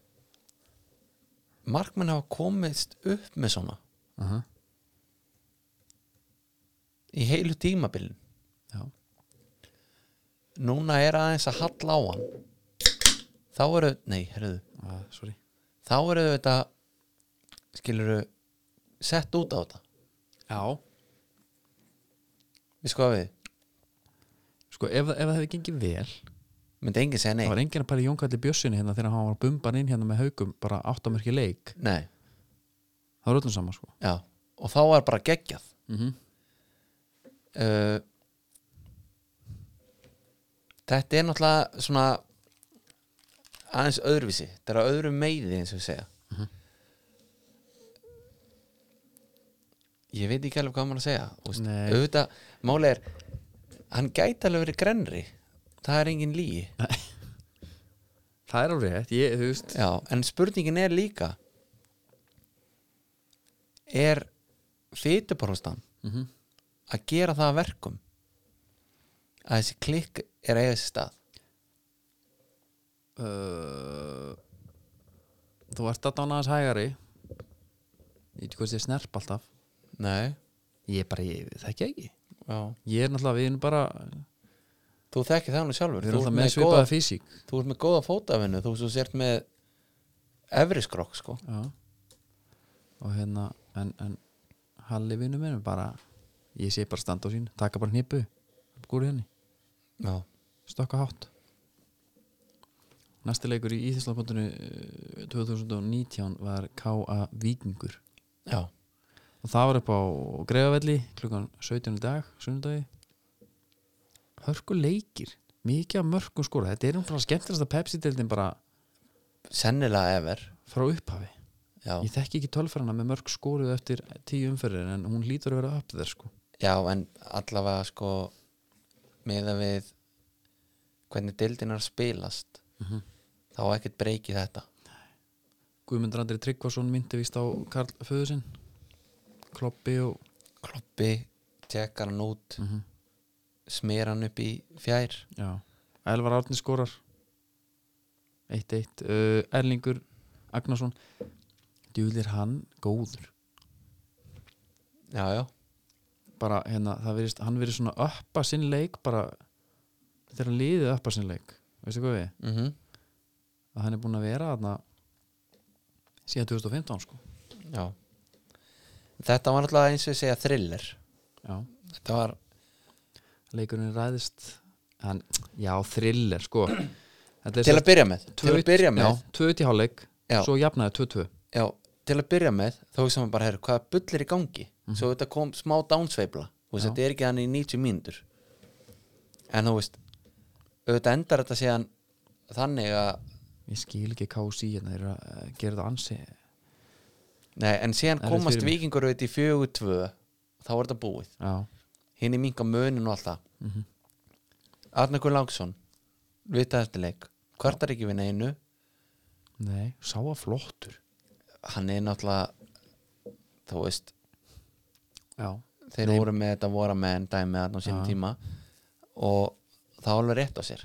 B: markmenn hafa komist upp með svona
A: Aha,
B: í heilu tímabilin
A: Já,
B: Núna er aðeins að halla á hann Þá eru, nei, herruðu
A: ah, sorry
B: Þá eru þetta skiluru sett út á þetta
A: Já,
B: Við sko að við,
A: sko ef, ef það hefði gengið vel
B: myndi enginn segja nei
A: það var enginn að pæla í Jónkalli Bjössinni hérna þegar hann var bumban inn hérna með haukum bara áttamörki leik,
B: Nei,
A: það var öllum saman sko
B: já, og þá var bara geggjað
A: mm -hmm.
B: uh, Þetta er náttúrulega svona aðeins öðruvísi þetta er að öðru meiði eins og við segja Ég veit ekki alveg hvað maður að segja Úst,
A: Nei.
B: auðvitað, máli er hann gæti alveg verið grenri það er engin lígi
A: Það er alveg rétt, ég, þú veist
B: Já, en spurningin er líka er fytuporhustan
A: Mhm.
B: að gera það að verkum að þessi klikk er að eiga þessi stað
A: uh, Þú ert að dána aðeins hægari Ég veit ekki hvað ég snerp alltaf
B: Nei,
A: Ég bara, ég þekki það ekki
B: já
A: Ég er náttúrulega, við erum bara
B: Þú þekkir það nú sjálfur
A: Við
B: þú
A: erum
B: ert,
A: náttúrulega með
B: með
A: svipaða
B: góða,
A: físík
B: þú ert með góða fótafinu þú svo sért með efri skrokk sko
A: Já Og hérna, en, en Halli vinnu minn er bara Ég sé bara standa á sín, taka bara hnipu Gúri henni
B: Já,
A: stökka hátt næsti leikur í eh, Íþjóðslandbóndinu 2019 var K.A. Víkingur
B: já
A: og það var upp á greiðavelli klukkan 17 í dag, sunnudagi hörku leikir mikið af mörgum skora, þetta er um frá skemmtilegsta Pepsi-deildin bara
B: sennilega ever
A: frá upphafi
B: já,
A: ég þekki ekki tölfærana með mörg skoruð eftir tíu umferðir en hún lítur að vera upp þér sko
B: já en allavega sko meða við hvernig deildinar spilast
A: Mhm.
B: þá á ekkert breyki þetta
A: Guðmundur Andri Tryggvason myndi vist á Karl Föðu sinn Kloppi og
B: kloppi, tekkar hann út
A: mm
B: smer hann upp í fjær
A: Já, Elvar Árni skorar 1-1 uh, Erlingur Agnarsson djúlir hann góður
B: já, já, bara,
A: bara hérna, það verist, hann verið svona uppa sinn leik bara þegar hann liðið uppa sinn leik veistu hvað við,
B: mm
A: að hann er búin að vera þarna síðan 2015 sko
B: já þetta var náttúrulega eins og ég segja thriller
A: já,
B: þetta var,
A: leikurinn ræðist hann, já, thriller sko Þetta er
B: til
A: sem-
B: að byrja með til að byrja með,
A: já, 2-1 í hálfleik,
B: Já.
A: svo jafnaði 2-2
B: já, til að byrja með þá hugsa maður bara, herru, hvaða bull er í gangi svo þetta kom smá dánsveifla
A: Mhm.
B: þú veist,
A: Já.
B: þetta er ekki hann í 90 mínútur en þú veist auðvitað endar þetta síðan þannig að,
A: ég skil ekki KC hérna, þeir eru að eh, gera þetta ansi
B: nei, en síðan
A: Erfitt
B: komast
A: fyrir mig.
B: vikingur auðvitað í fjögur tvö þá var þetta búið
A: já,
B: hinn í minga mönin og allt það mm
A: Mhm.
B: Arnar Guð Langsson vita eftir leik, kvartar ekki við neinu
A: Nei, sá að flottur
B: hann er náttúrulega þú veist,
A: Já,
B: þeir voru með þetta voru með en dæmi þarna á sínum
A: Já.
B: tíma og það var alveg rétt á sér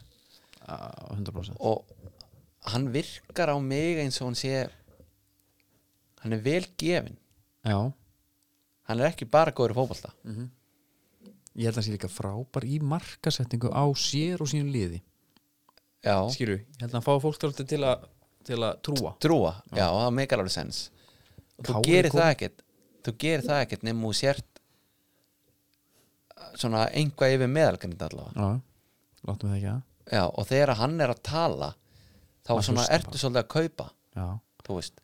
A: 100%
B: og hann virkar á mig eins og hann sé hann er vel gefin
A: Já,
B: hann er ekki bara góður í fótbolta
A: Mhm. ég held að hann sé líka frábær í markasetningu á sér og sínu liði
B: já,
A: Skýru, ég held að hann fá fólk þáttu til að til að trúa
B: trúa, já, það meikar alveg sens og þú
A: Kári
B: gerir
A: kom-
B: það ekkert þú gerir það ekkert nema þú sért svona einhvað yfir meðalgrind allavega
A: Já, láttum við það ekki að
B: já, og þegar hann er að tala þá
A: Maður
B: svona
A: hlustar
B: ertu svolítið að kaupa
A: Já,
B: þú veist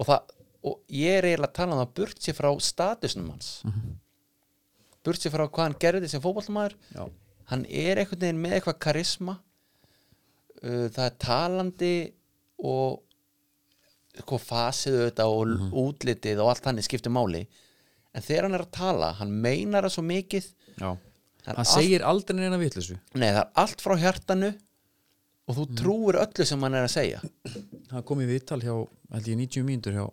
B: og, það, og ég er eiginlega að tala um það burt sér frá statusnum hans
A: Mhm.
B: burt sér frá hvað hann gerði sem fótballmaður
A: já,
B: hann er einhvern veginn með eitthvað karisma uh, það er talandi og hvað fasið auðvitað og
A: Mhm.
B: útlitið og allt þannig skiptir máli en þegar hann er að tala, hann meinar það svo mikið
A: já.
B: Það er
A: Hann segir aldrei neina vitleysu
B: nei, það er allt frá hjartanu
A: Mm.
B: og þú trúir öllu sem hann er að segja
A: Hann kom í viðtal hjá, held ég 90 mínútur hjá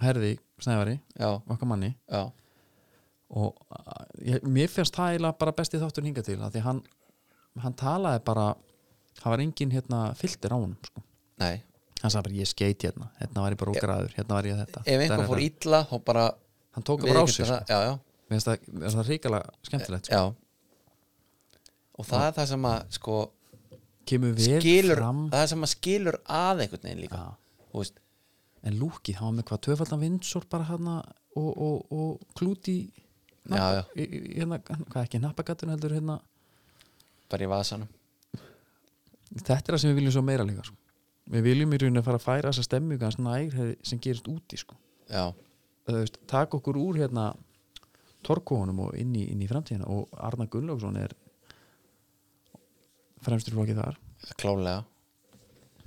A: Herði Snævari,
B: já,
A: okkar manni
B: já,
A: og uh, ég, mér finnst það eiginlega bara besti þáttur hinga til af því hann, hann talaði bara það var engin hérna filter á honum sko.
B: nei
A: hann sagði bara ég skeit hérna hérna var ég bara ógraður, hérna var ég þetta
B: E- ef einhver
A: Þetta er
B: fór
A: þetta.
B: illa, þá bara
A: hann tók bara á sig sko.
B: það, já, já,
A: mér finnst það, mér finnst það ríkala skemmtilegt sko.
B: já og það er það sem að sko,
A: kemur vel
B: skilur,
A: fram
B: það er sem að skilur að einhvern veginn líka
A: Já.
B: þú veist,
A: en lúkið, hann var með hvað tvöfaldan vinsor bara hérna og, og, og klúti
B: Já, já.
A: hérna, hvað ekki, nappagatun heldur hérna
B: bara í vasanum
A: þetta er það sem við viljum svo meira líka sko. við viljum í rauninu að fara að færa þessa stemmingu hans nær sem gerist úti sko.
B: já,
A: Þú veist, taka okkur úr hérna torkóunum og inn í, inn í framtíðina og Arna Gunnlaugsson er fremstur flokki þar
B: klálega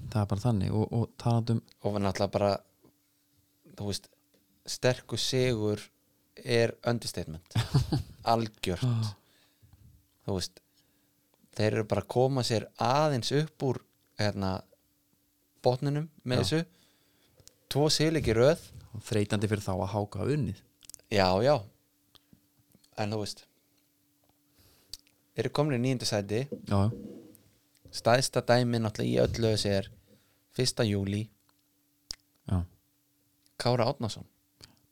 A: það er bara þannig og, og um- talandum
B: og við náttúrulega bara þú veist, sterkur sigur er understatement algjört þú veist þeir eru bara að koma sér aðeins upp úr hérna botninum með
A: Já.
B: þessu tvo sigurleiki í röð
A: þreytandi fyrir þá að háka hafa unnið
B: já, já en þú veist eru komin í nýjöndu sæti
A: já, já.
B: staðista dæmi náttúrulega í öllu þessu er 1. júli
A: já.
B: Kára Átnason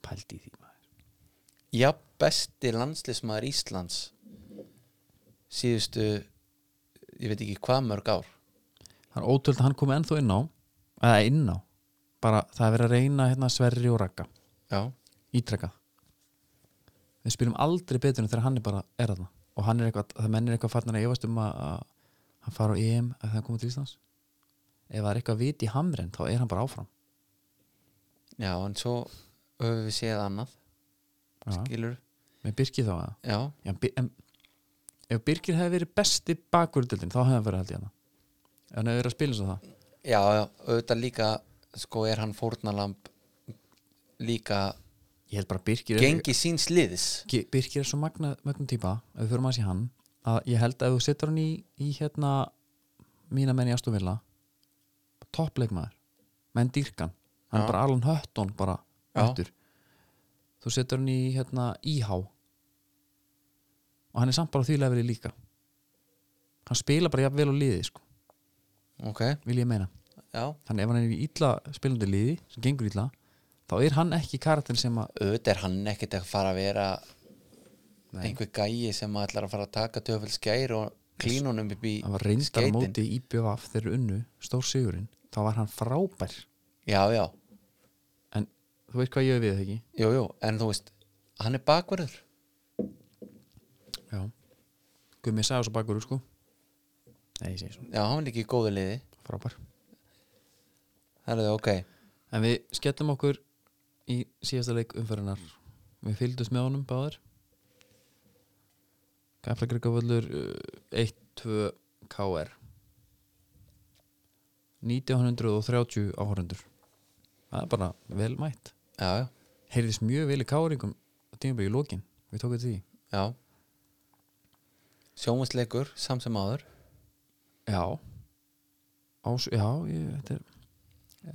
A: pældi í því maður
B: Já, besti landslismæður Íslands síðustu ég veit ekki hvað mörg ár
A: það er ótöld að hann komi ennþá inn á eða inn á, bara það er verið að reyna hérna Sverri og Ragga,
B: Já,
A: ítrekka við spilum aldrei betur en þegar hann er bara er þarna og hann er eitthvað, það mennir eitthvað farnar að efast um að, að hann fara á EM að það komið til Íslands ef það er eitthvað vit í hamren þá er hann bara áfram
B: já en svo höfum við séð annað
A: Já.
B: skilur
A: með Birki þá að
B: já,
A: Já, Bi- en, ef Birkir hefði verið besti bakvörðildin þá hefði hann verið held ég hana ef hann hefði verið að spila eins og það
B: já, já, auðvitað líka sko er hann fórnalamb líka
A: ég held bara að Birkir er,
B: gengi síns liðis
A: Ge- Birkir er svo magna, magnum típa ef við förum að sé hann að ég held að ef þú setur hann í, í hérna mína menn í Astúvilla toppleikmaður menn dýrkan hann
B: Já.
A: er bara Alan Hutton bara
B: Já.
A: öttur þú setur hann í hérna íhá og hann er samt bara á því lefri líka hann spila bara jafnvel á liði sko,
B: ok,
A: vil ég meina
B: já,
A: þannig ef hann er í illa spilandi liði sem gengur illa, þá er hann ekki karakter sem að,
B: auðvitað er hann ekkert að fara að vera
A: Nei.
B: einhver gæi sem ætlar að fara að taka töfvel skær og klínunum upp í
A: að var reyndar á
B: Skeitin.
A: móti IBF þegar þeir unnu, stór sigurinn þá var hann frábær,
B: já, já,
A: en þú veist hvað ég hef við ekki
B: jú, jú, en þú veist hann er bakverður
A: já, Gumi sagði svo bakur sko, nei, ég segi svo
B: já, hann er ekki í góðu liði
A: frábær,
B: það er það, ok,
A: en við skellum okkur í síðasta leik umferðinar við fylgdust með honum báðir Kaplagreikavöllur 1-2 KR 1930 áhorundur það er bara vel mætt
B: já, já,
A: heyrðist mjög vel í KR-ingum tímabæk í lokin, við tókum því
B: já sjómusleikur, sam sem áður
A: já Ás, já, ég, þetta, er,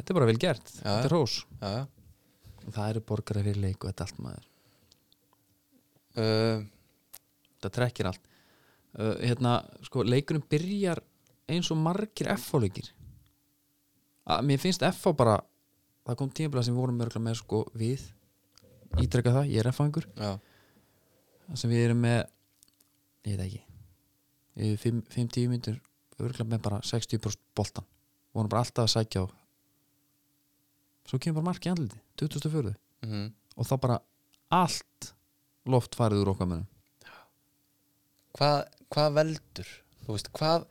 A: þetta er bara vel gert
B: Já.
A: þetta er hós
B: já, já
A: það eru borgara fyrir leik og þetta er allt maður
B: uh,
A: þetta trekkir allt uh, hérna, sko, leikunum byrjar eins og margir F-leikir mér finnst F bara það kom tímabla sem við vorum mörgla með sko við ítrekka það, ég er F-angur
B: já,
A: sem við erum með, ég veit ekki yfir 5-10 myndir örgla með bara 60% boltan vorum bara alltaf að sækja á svo kemur bara mark í andliti 2004
B: mm
A: og þá bara allt loft farið úr okkar mönnum
B: hvað, hvað veldur þú veist, hvað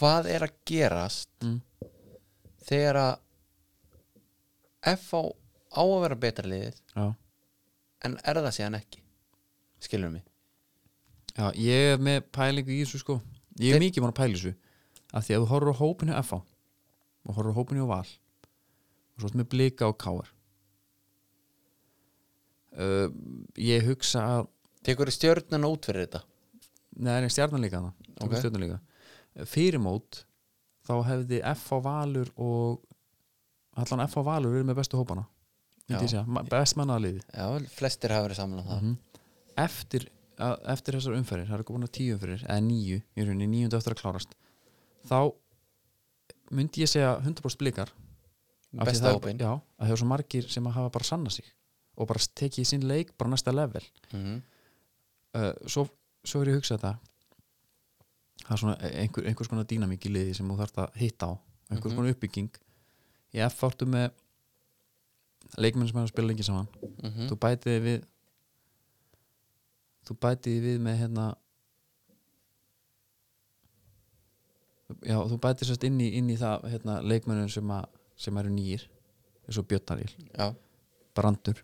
B: hvað er að gerast
A: Mm.
B: þegar að F á, á að vera betra liðið
A: já
B: en er það síðan ekki skilur mig
A: Já, ég er með pælingu í þessu sko Ég er
B: Þeir-
A: mikið mann að pæla í þessu af því að þú horfir á hópinu FH og horfir á hópinu á Val og svo ertu með blika og káar uh, Ég hugsa að
B: tekur stjörnuna út fyrir þetta
A: neða, stjarnanleika það
B: Ok.
A: okay. stjarnanleika Fyrirmót þá hefði FH Valur og allan FH Valur verið með bestu hópana myndi ég
B: Já.
A: segja, ma- best mannaðaliði
B: já, flestir hafa verið samlan það
A: eftir, að, eftir þessar umferðir það er ekki búin að tíu umferðir eða nýju, í rauninni níundu eftir að klárast þá myndi ég segja 100% blikar Mhm. af því
B: besta
A: það er-
B: hópin
A: já, að það er svo margir sem að hafa bara sanna sig og bara tekið sinn leik bara næsta level
B: Mhm.
A: uh, svo, svo er ég að hugsa þetta það er svona e, einhver, einhvers konar dýnamík í liði sem þú þarft að hitta á einhvers
B: Mhm.
A: konar uppbygging ég effartu með leikmenn sem hefur spilað lengi saman
B: Mhm.
A: þú bætiði við þú bætiði við með hérna já, þú bætiði sérst inn í, inn í það hérna, leikmönnum sem, að, sem eru nýjir eins og Björnaríl,
B: já,
A: Brandur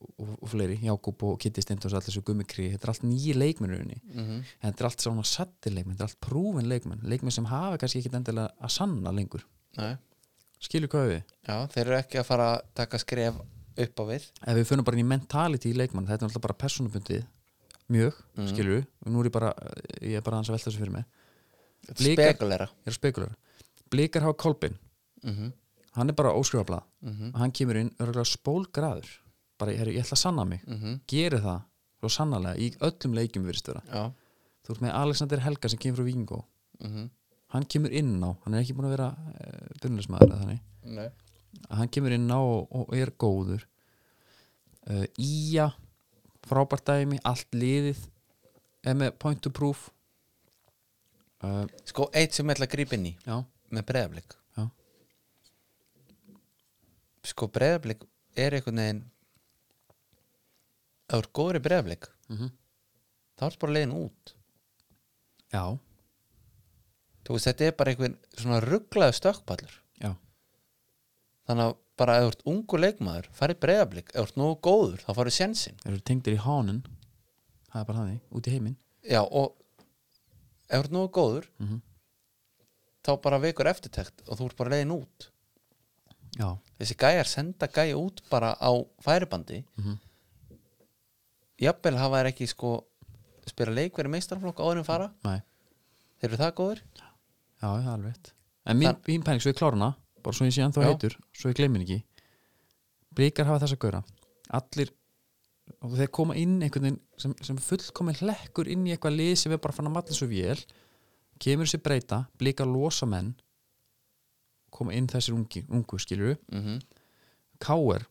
A: og, og fleiri, Jákúb og Kitty Steindos, allir þessu gummikri, þetta er allt nýjir leikmönnurinn
B: mhm.
A: en þetta er allt svona sattir leikmenn, þetta er allt prúfin leikmenn leikmenn sem hafa kannski ekkit endilega að sanna lengur,
B: Nei.
A: skilur hvað við
B: já, þeir eru ekki að fara að taka skref upp á við
A: ef við fyrir bara inn í mentality í leikmann þetta er alltaf bara personabundið mjög,
B: Mhm.
A: mm. skilju, og nú er ég bara ég er bara aðeins að velta þessu fyrir mig Blikar-
B: spekulera
A: ég er spekular, blikar hafa Kolbin
B: mhm,
A: hann er bara óskrifablað
B: mhm,
A: hann kemur inn, örgulega spólgraður bara, heru, ég ætla að sanna mig,
B: mhm
A: geri það svo sannarlega, í öllum leikjum virðist vera
B: já,
A: þú ert með Alexander Helga sem kemur frá Víngó
B: mhm
A: hann kemur inn á, hann er ekki búin að vera uh, byrnulismæður eða þannig
B: Nei.
A: að hann kemur inn á og, og er góður uh, Ía frábært dæmi, allt liðið er með point to proof uh,
B: sko, eitt sem ég ætla að grípa inn í
A: já,
B: með breyðablik
A: já,
B: sko, breyðablik er einhvern veginn ef þú er góður í breyðablik
A: Mhm.
B: þá er bara leiðin út
A: já,
B: þú veist, þetta er bara einhvern svona rugglaðu stökkpallur
A: já
B: þannig að bara ef þú ert ungu leikmaður farið breyðablík, ef þú ert nógu góður þá farið sjensin
A: Þeir eru tengdir í hánin Það er bara þannig, út í heiminn
B: já og ef þú ert nógu góður
A: Mhm.
B: þá bara vekur eftirtekt og þú ert bara leiðin út
A: Já,
B: þessi gæjar senda gæja út bara á færibandi
A: Mhm.
B: jafnvel hafa þær ekki sko spila leikveri meistarflokk áður en fara
A: næ,
B: þeir eru það góður
A: já, það er alveg rétt. En mín,
B: Þar-
A: mín pæling, svo ég klárna bara svo ég sé ennþá
B: Já.
A: heitur, svo ég gleymin ekki Blikar hafa þess að gauðra Allir, og þeir koma inn einhvern veginn sem, sem fullkomin hlekkur inn í eitthvað lið sem er bara fann að matla svo vél kemur sér breyta, blikar losa menn koma inn þessir ungi, ungu skilur
B: mm -hmm.
A: K.R.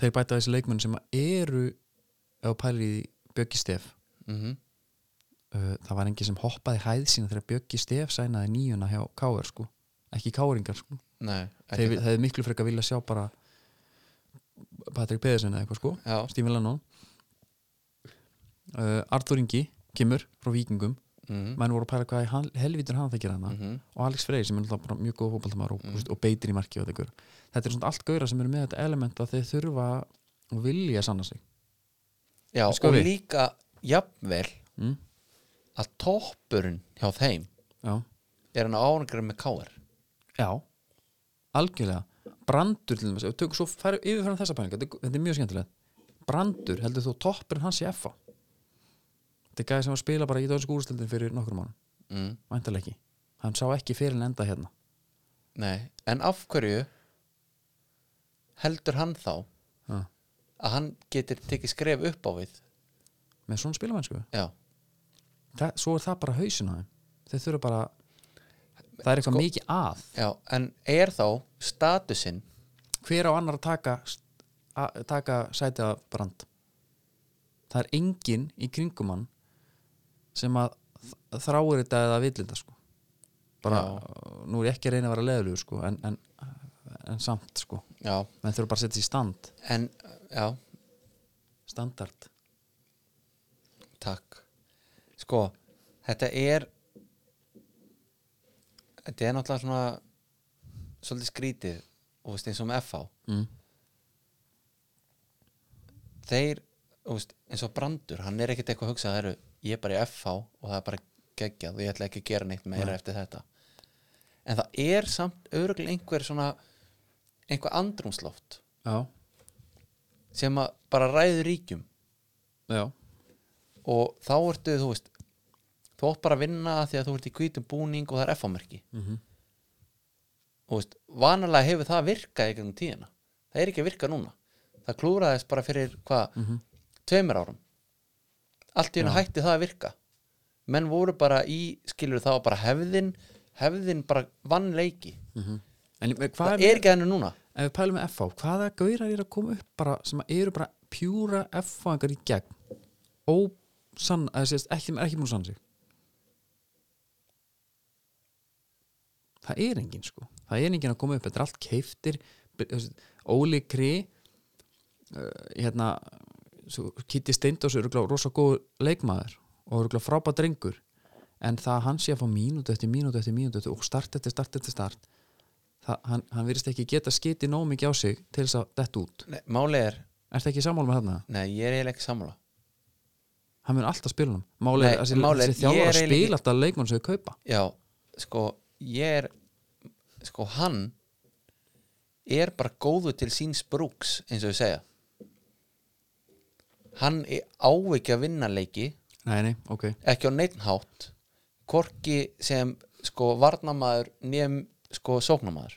A: þeir bæta þessi leikmenn sem eru eða pælir í Bjöggi Stef mhm. uh, það var engin sem hoppaði hæð sína þegar Bjöggi Stef sænaði nýjuna hjá K.R. sko ekki K.R.ingar sko
B: Nei, ekki
A: þeir
B: það.
A: hefði miklu frekar vilja sjá bara Patrik Pedersen eða eitthvað sko
B: Já,
A: Stephen Lennon uh, Arthur Ingi kemur frá Víkingum
B: mm
A: menn voru að pæla hvað í hal- helvítur hann það gerir hana
B: -hmm.
A: og Alex Freyr sem er náttúrulega bara mjög góð fótballtamaður og, mm. og beitir í marki og þetta ykkur þetta er svona allt gauðra sem eru með þetta element að þeir þurfa og vilja sanna sig
B: Já,
A: Sko
B: og
A: við.
B: líka jafnvel
A: mm?
B: að toppurinn hjá þeim
A: já.
B: er hann á árangur með káar
A: já algjörlega, brandur til þess tökum svo færu yfirfærum þessa pælinga þetta, er- þetta er mjög skemmtilegt brandur heldur þú toppurinn hans í FA þetta er gæði sem var að spila bara í döðsku úrstildin fyrir nokkrum mánum, Mhm.
B: mm.
A: væntalega ekki hann sá ekki fyrir en enda hérna
B: Nei, en af hverju heldur hann þá
A: ha.
B: að hann getur tekið skref upp á við
A: með svona spilamennsku
B: Já,
A: Þa- svo er það bara hausin á þeim þeir þurfa bara það er eitthvað mikið að
B: já, en er þá statusinn
A: hver á annar að taka að taka sætið af brand það er enginn í kringum hann sem að þ- þráir þetta eða villinda sko bara, uh, nú er ég ekki að reyna að vera leðlugur sko, en, en, en samt sko
B: Já,
A: menn þurfa bara að setja sér í stand
B: en já,
A: standard
B: takk Sko, þetta er þetta er náttúrulega svona svolítið skrítið og veist eins og með FH
A: mm.
B: þeir, þú veist, eins og Brandur hann er ekkert eitthvað að hugsa að það eru ég er bara í FH og það er bara geggjað og ég ætla ekki að gera neitt meira eftir þetta en það er samt öruglega einhver svona einhver andrumsloft
A: já,
B: sem að bara ræður ríkjum
A: já,
B: og þá ertu, þú veist þú átt bara að vinna af því að þú ert í hvítum búning og það er FH-merki
A: mm -hmm.
B: og veist, vanalega hefur það virkað í gegnum tíðina það er ekki að virka núna það klúraðist bara fyrir hvað tveimur árum allt í hennu hætti það að virka menn voru bara í, skilur það var bara hefðin hefðin bara vann leiki
A: en ég- hvað
B: það er ekki hennu núna
A: ef við pælum með FH, hvaða gaurar eru að koma upp bara, sem eru bara pjúra FH-ingar í gegn ósann, eða sést, ekki, ekki múin að sanna sig það er engin sko það er engin að koma upp, þetta er allt keiftir Óli Kri uh, hérna svo, Kitty Steindós er örugglega rosa góð leikmaður og örugglega frábæð drengur en það hann sé að fá mínútu eftir mínútu eftir mínútu eftir- og start eftir start eftir start Þa, hann, hann virðist ekki geta skiti nóg mikið á sig til þess að detta út
B: nei, máli er,
A: Ertu ekki sammála með þarna?
B: nei, ég er eiginlega ekki sammála
A: Hann mun alltaf spila hann Máli
B: Nei,
A: er þessi,
B: málið er,
A: þessi
B: ég er
A: þjálfar
B: eiginlega ekki-
A: spila alltaf leikmann sem þau kaupa
B: já, sko, ég er sko, hann er bara góðu til síns brúks eins og við segja hann er áveikja að vinna leiki
A: Nei, nei, ok
B: ekki á neittn hátt hvorki sem sko varnamaður nýjum sko sóknamaður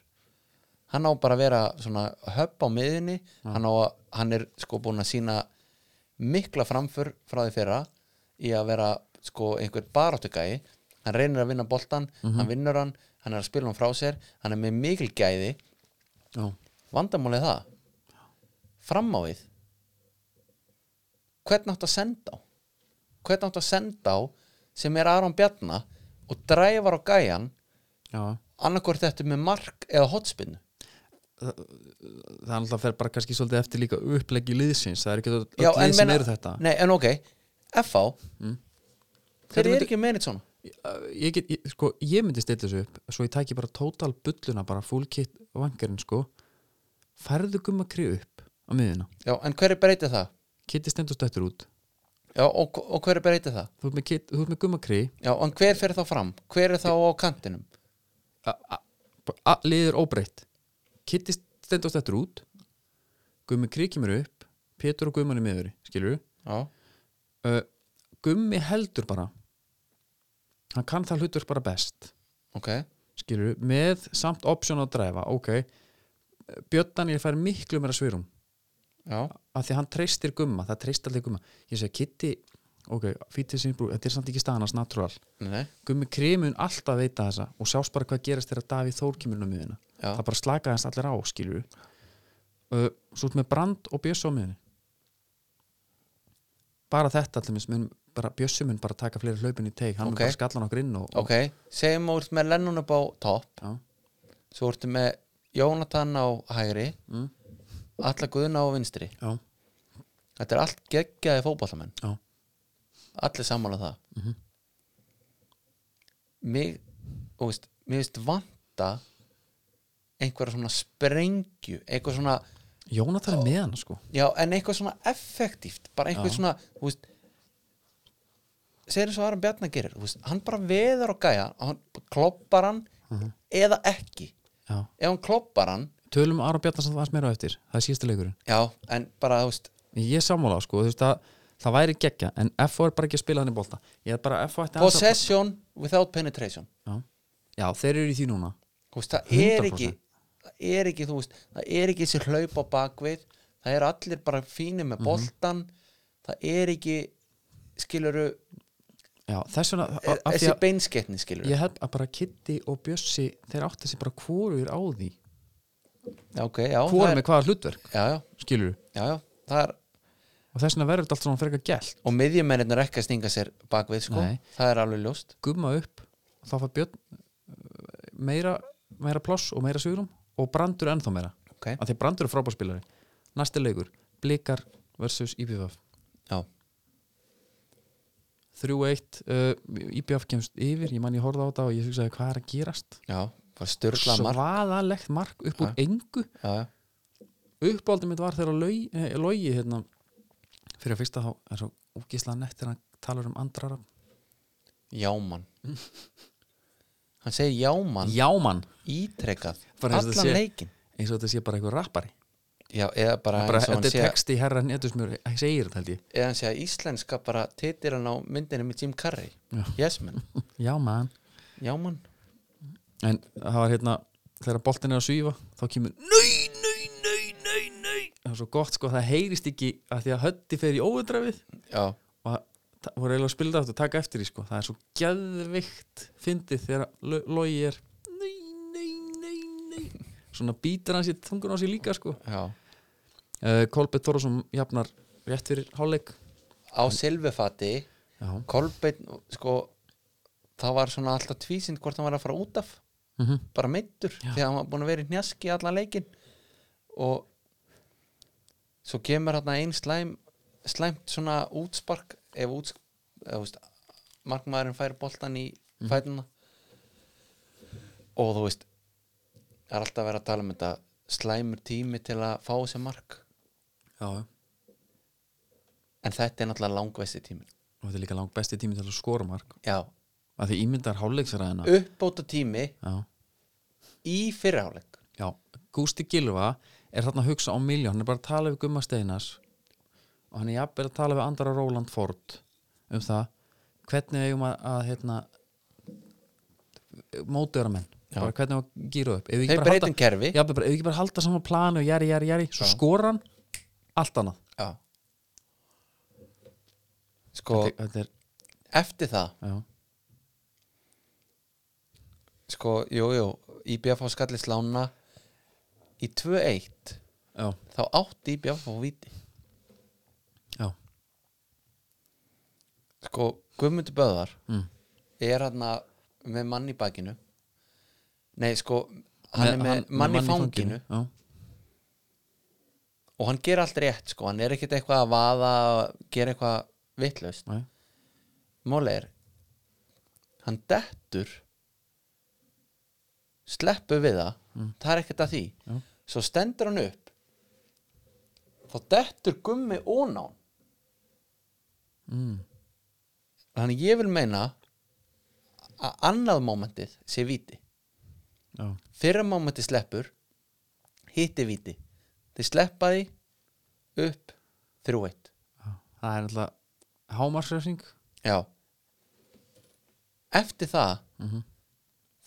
B: hann á bara að vera svona höpp á miðinni hann, á, að- hann er sko búin að sína mikla framför frá því fyrra í að vera sko einhver baráttugæi hann reynir að vinna boltan, hann vinnur hann hann er að spila hann frá sér, hann er með mikil gæði
A: Já,
B: vandamálið er það fram á við hvern áttu að senda á hvern áttu að senda á sem er Aron Bjarna og dræfar á gæjan
A: já
B: annarkvort þetta með mark eða hotspinnu
A: Það er alltaf fer bara kannski svolítið eftir líka uppleggi liðsins Það er ekki öll
B: Já,
A: öll
B: en
A: lið sem
B: meina-
A: eru þetta
B: nei en ok, FH
A: Mm.
B: þeir
A: Þetta
B: eru
A: myndi-
B: ekki meinið svona
A: Ég- ég, get, ég, sko, ég myndi stilla þessu upp svo ég tæki bara tótal bulluna bara full kit vangarinn sko færðu gumma krið upp á miðuna
B: já, en hverju breytir það?
A: Kitty stendur stöttur út
B: Já, og, og hverju breytir það?
A: þú ert með, kit, þú ert með gumma krið
B: Já, en hver fer þá fram? Hver er þá á kantinum?
A: liður óbreytt Kitty stendur stöttur út gummi krið kemur upp Pétur og gumman í miðuri, skilur
B: Já,
A: uh, gummi heldur bara hann kann það hlutur bara best
B: ok
A: skilur, með samt option að dræfa, ok Björn Daniel fær miklu meira svirum
B: Já,
A: af því að hann treystir gumma, það treyst aldrei gumma ég segi Kitty, ok, fítið sinni brú þetta er samt ekki staðan hans natúral
B: nei, nei,
A: gummi krimun alltaf veita þessa og sjást bara hvað gerist þegar Davíð Þór kemur inn á miðuna
B: já,
A: það bara slaka hans allir á, skilur uh, svo ert með brand og bjössu á miðunni bara þetta allir minns, mun bara bjössu mun bara taka fleiri hlaupin í teik, hann
B: Ok.
A: mun bara skalla nokkur inn og,
B: ok Segjum að þú ert með Lennon upp á topp
A: Já.
B: Svo ertu með Jónatan á hægri
A: Mm.
B: Alla Guðna á vinstri
A: og já,
B: Þetta er allt geggjaði fótballamenn
A: já,
B: Allir sammála um það
A: Mhm.
B: Mig, og veist, mér veist vanta einhverja svona sprengju einhver svona,
A: Jónatan er með hann sko
B: já, en eitthvað svona effektíft, bara einhver
A: Já.
B: svona þú veist segir eins og Aron Bjarnar gerir, þú veist, hann bara veður og gæja, hann kloppar hann
A: Mhm.
B: eða ekki
A: já.
B: ef hann kloppar hann,
A: tölum Aron Bjarnarsson aðeins meira á eftir það er síðasta leikurinn
B: já, en bara, þú veist
A: ég er sammála sko, þú veist að það væri geggja en FO er bara ekki að spila hann í bolta ég er bara að FO ætti aðeins að-
B: possession without penetration
A: já. já, þeir eru í því núna
B: þú veist, það er
A: 100%.
B: ekki það er ekki, þú veist, það er ekki þessi hlaup á bakvið, það er allir bara fínir
A: Mhm.
B: með boltan það er ekki, skiluru
A: já, þess vegna að- af því
B: eh, þessi
A: að
B: beinskettni, skiluru
A: ég held að bara Kitty og Bjössi þeir átti þessi bara hvorur á því
B: já, ok, já, það
A: hvorur
B: er,
A: með hvaða hlutverk,
B: já, já,
A: skilur
B: já, já, það er
A: og þess vegna verður þetta allt svona frekar gælt
B: og miðjumennirn er ekki að stinga sér bakvið, sko,
A: Nei.
B: það er alveg ljóst
A: gumma upp, þá fær Björn uh, meira, meira pláss og meira sigurum og brandur ennþá meira
B: ok,
A: að því brandur er frábárspilari næsti leikur, blikar versus IPVF
B: já,
A: 3-1 uh, IBF kemst yfir, ég man ég horfði á þetta og ég hugsaði hvað er að gerast
B: já, bara styrla mark
A: svaðalegt mark upp úr engu
B: já, já,
A: uppáldum mitt var þegar logi, eh, logi hérna, fyrir að fyrsta þá er svo úkislega nett þegar hann talar um andrara
B: jáman hann segir jáman
A: Jámann,
B: ítrekað,
A: Bara eins og
B: allan
A: það sé-
B: leikin
A: eins og þetta sé bara eitthvað rappari
B: já, eða bara,
A: bara
B: eins og hann
A: þetta er
B: sé að-
A: texti herra netusmjör ég segir þetta held ég,
B: eða hann sé að íslenska bara titir hann á myndinu með Jim Carrey
A: Já.
B: yes man,
A: Jámann
B: já man
A: en það var hérna þegar boltin er að svífa þá kemur nöi, nöi, nöi, nöi, nöi það var svo gott sko, það heyrist ekki að því að höndi fer í óvöndræfið
B: já,
A: og það- það voru eiginlega að spila þetta og taka eftir því sko. það er svo geðvikt fyndið þegar lo- logi er nöi, nöi, nöi, nöi svona býtar hann sér tungun á sér líka sko.
B: já
A: uh, Kolbett Þorðarsson jafnar rétt fyrir hálfleik
B: á silfufati,
A: já,
B: Kolbeinn sko, það var svona alltaf tvísind hvort hann var að fara út af
A: mm
B: bara meittur því að hann var búin að vera í hnjaski allan leikin og svo kemur hann einn slæm slæmt svona útspark ef úts eða, þú veist, markmaðurinn fær boltan í
A: Mhm.
B: fætuna og þú veist það er alltaf að vera að tala um þetta slæmur tími til að fá þessi mark
A: já, já.
B: en þetta er náttúrulega langvesti tími
A: og þetta er líka langt besti tími til að skora mark
B: já,
A: að því ímyndar hálfleiksræðina
B: uppbóta tími
A: já,
B: í fyrirháleik
A: já, Gústi Gilva er þarna að hugsa á miljón hann er bara að tala við Gumma Steinas og hann er jafnvel að tala við Andara Róland Ford um það hvernig eigum að, að hérna mótuðara menn
B: Já.
A: bara hvernig eigum að gýra upp ef við
B: þeir
A: ekki bara
B: breytum
A: halda,
B: kerfi
A: já, bara, ef við ekki bara halda saman planu og jari, jari, jari, svo
B: Já.
A: skora hann allt annað
B: já. sko,
A: Þetta- þetta er,
B: eftir það
A: já,
B: sko, jú, jú, IBF á skalli slána í 2-1
A: já,
B: þá átti IBF á viti
A: já,
B: sko, Guðmundur Böðar
A: Mm.
B: er hann með mann í bakinu nei, sko hann er með
A: með
B: mann í
A: mann
B: fanginu
A: já,
B: og hann ger allt rétt, sko, hann er ekkert eitthvað að vaða, gera eitthvað vitlaust
A: nei,
B: mál er, hann dettur sleppur við það það er ekkert að því
A: Já.
B: svo stendur hann upp þá dettur gummi ónán
A: mm.
B: þannig ég vil meina að annað mómentið sé víti
A: já,
B: fyrra mómenti sleppur hitti viti þeir sleppa því upp þrjú eitt
A: já. það er náttúrulega hámarsrefsing
B: já eftir það
A: Mhm.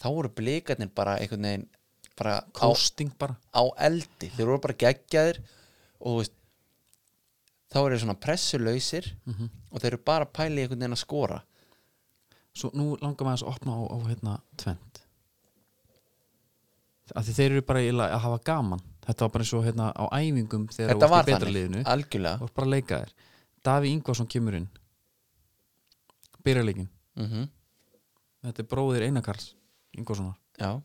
B: þá voru blikarnir bara einhvern veginn bara á,
A: kosting bara
B: á eldi þeir voru bara geggjaðir og þú veist þá eru þeir svona pressulausir
A: Mhm.
B: og þeir eru bara að pæla í einhvern veginn að skora
A: svo nú langar maður að opna á, á hérna tvend af því þeir eru bara eiginlega að hafa gaman þetta var bara eins og hérna á æfingum þegar
B: þetta
A: þú
B: var
A: varst í betra
B: þannig, Ah.
A: liðinu
B: algjörlega
A: þú varst bara að leika þér Daví Ingvarsson kemur inn byrjarleikin
B: mm
A: þetta er bróðir Einar Karls Ingvarssonar,
B: já,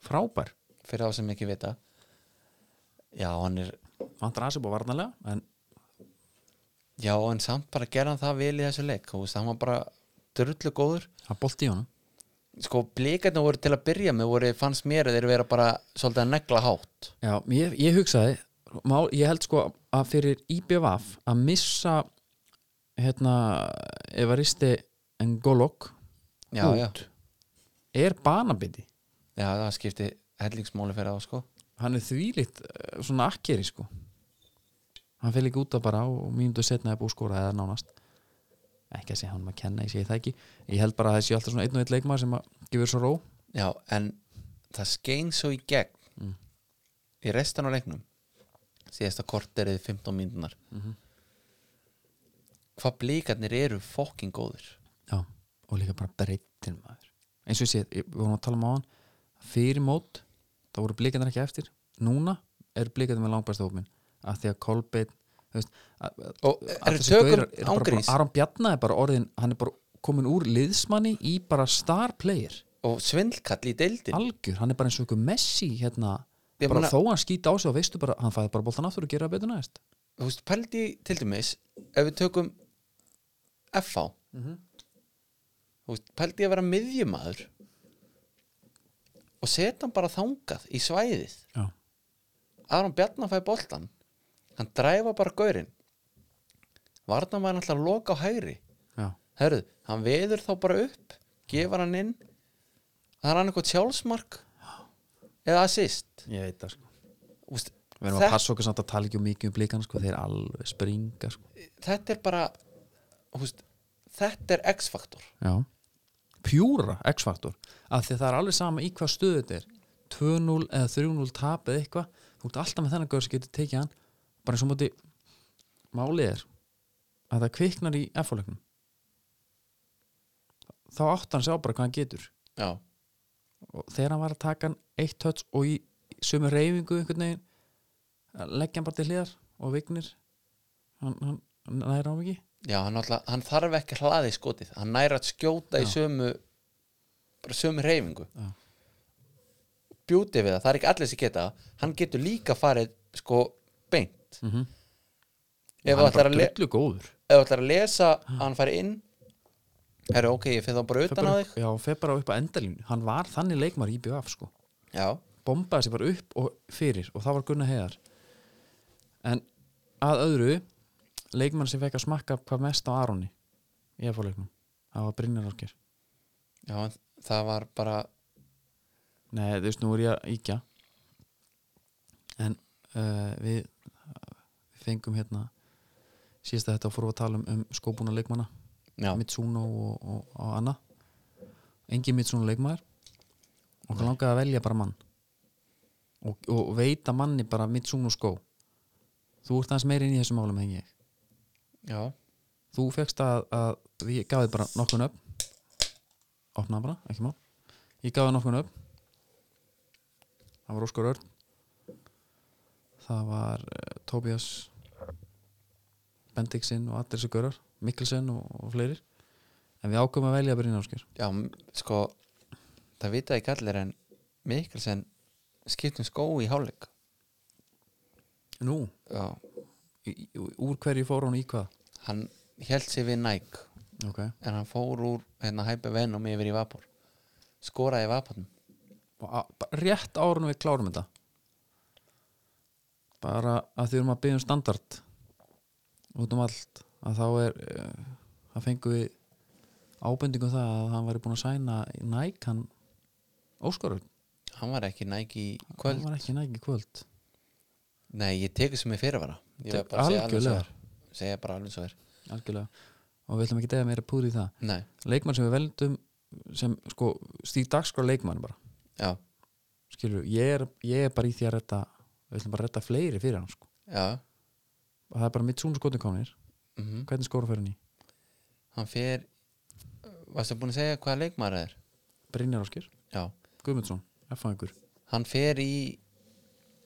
A: frábær
B: fyrir þá sem ekki vita já, hann er
A: vantar aðsip á varnalega en
B: Já, en samt bara gerði hann það vel í þessu leik og það var bara drullu góður
A: það bolti í honum
B: sko, blíkarnir voru til að byrja með voru, fannst mér að þeir vera bara svolítið að negla hátt
A: Já, ég, ég hugsaði mál, ég held sko að fyrir IBVF að missa hérna Evaristi Ngolok
B: Já, já,
A: út er banabindi
B: já, það skipti hellingsmáli fyrir þá, sko
A: hann er þvílitt eh, svona akkeri sko hann fyrir ekki út að bara og mínútu setna er búið að skora eða nánast ekki að segja hann að kenna, ég segi það ekki ég held bara að þessi alltaf svona einn og einn leikmaður sem að gefur svo ró
B: Já, en það skein svo í gegn
A: Mm.
B: í restan á leiknum síðasta korterið 15 mínúnar
A: Mhm.
B: Hvað blíkarnir eru fokking góðir
A: Já, og líka bara breytin maður eins og ég sé, ég- við vorum að tala um á hann fyrir mót, þá voru blikarnir ekki eftir núna er blikarnir með langbæsta hópin að því að Kolbeinn þú veist, að- að-
B: og
A: að
B: eru
A: þessi
B: tökum
A: gaurar eru bara búin-
B: ángríns
A: Aron Bjarnar er bara orðin hann er bara komin úr liðsmanni í bara star player,
B: og svindlkall í deildin
A: algjör, hann er bara eins og ykkur Messi hérna,
B: Ég
A: bara
B: meina-
A: þó hann skýta á sig og veistu bara, hann fæði bara boltan aftur og gera það betur næst
B: þú veist, pældi í, til dæmis ef við tökum FH
A: Mhm.
B: þú veist, pældi í að vera miðjumadur og setja hann bara þangað í svæðið
A: Já,
B: Aron Bjarnar fæði boltan hann dræfa bara gaurinn Varnar var náttúrulega að loka á hægri
A: já,
B: herruð, hann veður þá bara upp gefur hann inn það er hann eitthvað sjálfsmark eða assist
A: ég veit það sko
B: Þú veist,
A: Við erum að passa okkur samt að tala ekki um mikið um blikana sko, þeir alveg springa sko
B: þetta er bara þú veist, þetta er X-faktor
A: Já. Pjúra X-faktor af því að það er alveg sama í hvað stöðu þetta er 2-0 eða 3-0 tap eða eitthvað þú ert alltaf með þennan gauð sem getur tekið hann bara eins og móti málið er að það kviknar í F-fólögnum þá átt hann sjá bara hvað hann getur
B: já
A: og þegar hann var að taka hann eitt touch og í sömu reyfingu einhvern veginn að leggja hann bara til hliðar og vignir hann, hann, hann næra á ekki
B: Já, hann, alltaf, hann þarf ekki að hlaði skotið hann næra að skjóta í
A: Já.
B: sömu bara sömu reyfingu
A: Já.
B: bjúti við það, það er ekki allir sem geta það. hann getur líka farið sko beint
A: mm -hmm.
B: ef
A: hann
B: þú
A: er
B: ætlar
A: bara
B: að, le
A: drullu góður
B: ef þú ætlar að lesa að hann fari inn er ok, ég fyrir þá bara
A: Fer
B: utan á
A: bara
B: þig
A: upp- Já, fer bara upp á endalínu Hann var þannig leikmar í BF sko
B: já,
A: Bombaði sér bara upp og fyrir og það var Gunnar Heiðar En að öðru leikmann sem fekk að smakka hvað mest á Aroni í að fá leikmann Það var Brynjar Orkir
B: já, en það var bara
A: Nei, þú veist, nú er ég að íkja En uh, við, við fengum hérna síðast að þetta fórum við að tala um, um skóbúna leikmanna
B: já,
A: Mitsuno og, og, og Anna engin Mitsuno leikmaður okkur langaði að velja bara mann og, og veita manni bara Mitsuno skó þú ert aðeins meira inn í þessu málum en ég
B: já,
A: þú fegst að, að ég gaf þið bara nokkun upp opnaði bara, ekki mál ég gaf þið nokkun upp það var Óskar Örn það var uh, Tobias Bendiksin og allir þessu görar Mikkelsen og, og fleiri en við ákveðum að velja Brynja Óskar
B: já, m- sko það vita ekki allir en Mikkelsen skiptum skó í hálfleik
A: nú,
B: já,
A: í, í- úr hverju fór hún í hvað
B: hann held sér við Nike
A: ok,
B: en hann fór úr hérna hæpa Venom yfir í Vapor skoraði í Vapornum
A: Og a- bara rétt árunum við klárum þetta bara að því erum að byggja um standard út um allt að þá er eh, það fengum við ábendingum það að hann væri búin að sæna í Nike hann Óskarur,
B: hann var ekki næg í
A: hann
B: kvöld
A: var ekki Nike í kvöld
B: nei, ég tekur sem ég fyrirvara ég
A: Tek-
B: var bara að segja alveg svo
A: algjörlega.
B: er segja bara alveg svo er
A: algjörlega og við ætlum ekki að meira púri í það
B: nei,
A: leikmann sem við veldum sem sko stíð dagskrá leikmann bara
B: já,
A: skilur, ég er, ég er bara í því að retta við ætlum bara að retta fleiri fyrir hann sko.
B: já
A: og það er bara mitt svona skotinkomnir
B: mm
A: hvernig skóra fyrir hann í?
B: hann fer varstu búin að segja hvaða leikmaður það er
A: Brynjar Áskir,
B: já,
A: Guðmundsson, F-fangur
B: hann fer í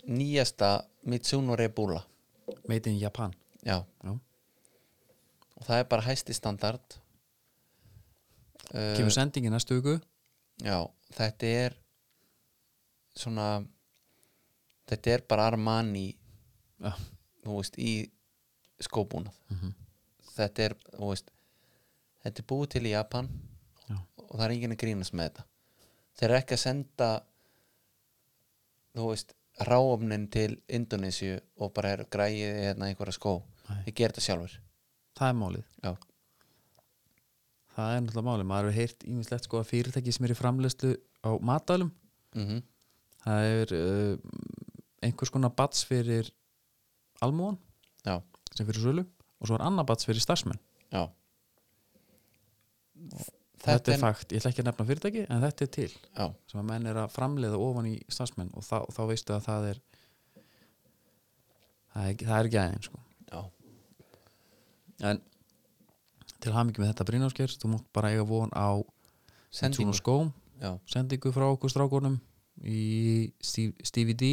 B: nýjasta Mitsuno Rebula
A: made in Japan
B: já,
A: Já.
B: og það er bara hæsti standard
A: kemur sendingi næstu viku
B: Já, þetta er svona þetta er bara Armani
A: Já.
B: þú veist, í skóbúnað
A: Mhm.
B: þetta er, þú veist þetta er búið til í Japan
A: Já.
B: og það er enginn að grínast með þetta þeir eru ekki að senda þú veist ráumnin til Indonésiu og bara er græið hérna einhverja skó
A: Nei.
B: þeir gera þetta sjálfur
A: það er málið,
B: Já,
A: það er náttúrulega málið maður hefur heyrt ímislegt sko að fyrirtæki sem er í framleyslu á matalum
B: mm
A: það er uh, einhvers konar bats fyrir almúan
B: já,
A: sem fyrir sölu og svo er annar bats fyrir starfsmenn
B: já
A: þetta, er fakt, ég ætla ekki að nefna fyrirtæki en þetta er til,
B: já,
A: sem að menn er að framleiða ofan í starfsmenn og þá, þá veistu að það er það er, það er ekki aðeins sko.
B: já,
A: en til hamingi með þetta Brynjáskers þú mátt bara eiga von á
B: sendingu
A: Tjúnu skóm,
B: já,
A: sendingu frá okkur strákunum í Steve- Stevie D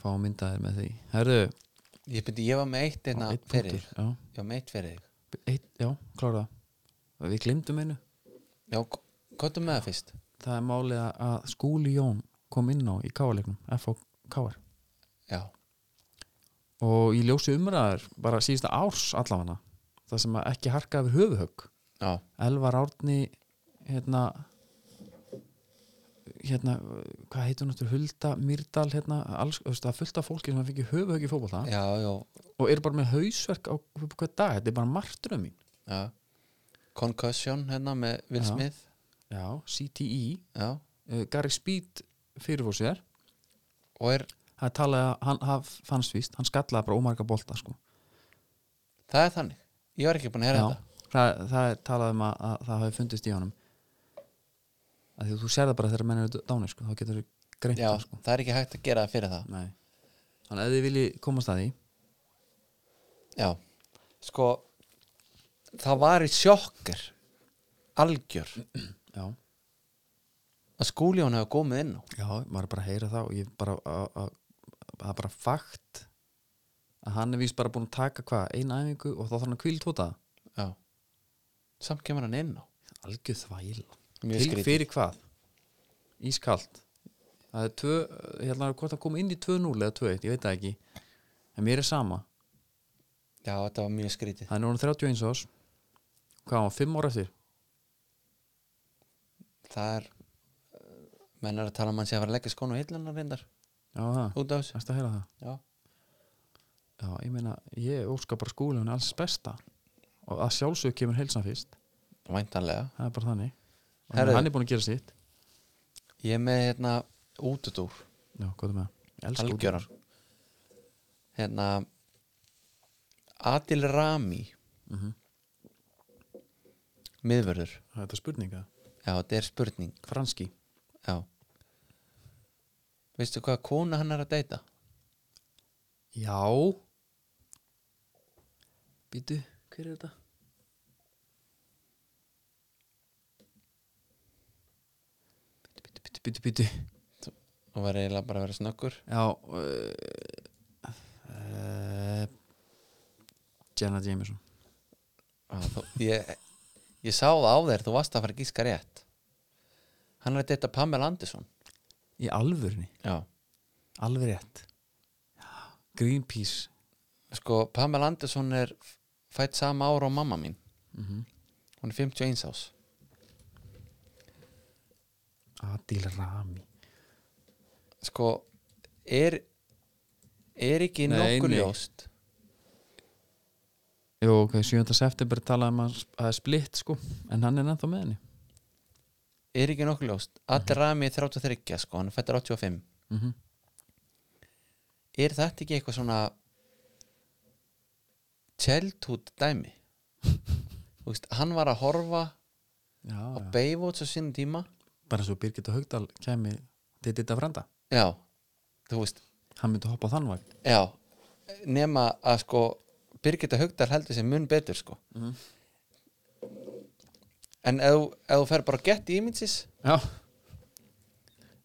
A: fá myndaðir með því herðu,
B: ég, byrja, ég var með eitt einna
A: einn
B: Hérna, fyrir þig.
A: punktur já,
B: ég var með eitt fyrir þig
A: eitt, já klára það við glimtum einu,
B: já, hvað er með það fyrst?
A: það er málið að- að Skúli Jón kom inn á í káarleiknum FOKR
B: já,
A: og ég ljósi umræðar bara síðasta árs allafana það sem að ekki harka yfir höfuhögg
B: já,
A: Elvar Árni hérna hérna, hvað heitur náttúrulega Hulda, Myrdal, hérna alls, þú veist, það er fullt af fólki sem fengi höfuhögg í fótbolta
B: já, já,
A: og eru bara með hausverk á upp á hvað dag, þetta er bara martröð mín
B: já. concussion hérna með Will
A: Já.
B: Smith
A: já, CTE,
B: já,
A: uh, Gary Speed fyrir fór sér,
B: og er,
A: það er talað að hann haf, fannst víst, hann skallaði bara ómarga bolta sko.
B: það er þannig ég var ekki búin að heyra
A: Já, það, það er talað um að, að það hafi fundist í honum að því að þú sér það bara þegar menn eru dánir, sko, þá getur þú greint
B: þetta já,
A: það, sko.
B: það er ekki hægt að gera það fyrir það
A: Nei. þannig að ef þið viljið komast að því
B: já, sko það var í sjokkar algjör
A: já,
B: að skúli hún hefur komið inn á
A: já, maður er bara að heyra það og ég bara að- að- að- það er bara fakt að hann er víst bara búin að taka hvað, eina æfingu og þá þarf hann að kvíl tóta
B: já, samt kemur hann inn á
A: algjöð þvæl
B: Mjög
A: til
B: skrítið.
A: fyrir hvað ískalt það er tvö, hérna hvort það kom inn í 2-0 eða 2-1, ég veit það ekki en mér er sama,
B: já, þetta var mjög skrítið
A: hann er orðin 31 ás hvað á, 5 ára eftir
B: það er eh, menn er að tala um hann sé að fara að leggja skónu í hilluna reyndar
A: já, það,
B: út af þessu
A: það er að heyra það
B: já,
A: já, ég meina, ég óska bara skúli hann alls besta og að sjálfsög kemur heilsan fyrst
B: væntanlega
A: það er bara þannig og
B: Herðu.
A: hann er búin að gera sitt
B: ég er með hérna útudúr
A: já, hvað er með það? Ég elska
B: algjörar hérna Adil Rami
A: Mhm.
B: miðvörður
A: útidúr. þetta er spurninga
B: já, þetta er spurning
A: franski
B: já veistu hvað kona hann er að deyta
A: já býtu, hver er þetta? býtu, býtu, býtu, býtu, býtu
B: og var eiginlega bara að vera snöggur
A: já uh, uh, Jenna Jameson
B: Já, þú, ég, ég sá það á þér þú varst að fara að gíska rétt hann er að deyta Pamela Anderson
A: í alvörni,
B: já
A: alveg rétt Greenpeace
B: sko Pamela Anderson er fætt sama ára á mamma mín hún er 51 ás
A: Adil Rami
B: sko, er er ekki
A: Nei,
B: nokkuð
A: nei.
B: ljóst
A: Jú, ok, 7. september talaði um að að það er splitt sko en hann er ennþá með henni
B: er ekki nokkuð ljóst Adel
A: Mhm.
B: Rami er 33, sko, hann er fættur 85
A: mm
B: er þetta ekki eitthvað svona tjeldhút dæmi Þú veist, hann var að horfa
A: Já,
B: á
A: já.
B: Baywatch á sínum tíma
A: bara svo Birgitta Haugdal kemi til þetta frenda
B: já, þú veist
A: hann myndi hoppa á þann vagn
B: já, nema að sko Birgitta Haugdal heldur sem mun betur sko
A: Mhm.
B: en ef, þú- ef þú fer bara á Getty Images
A: Já,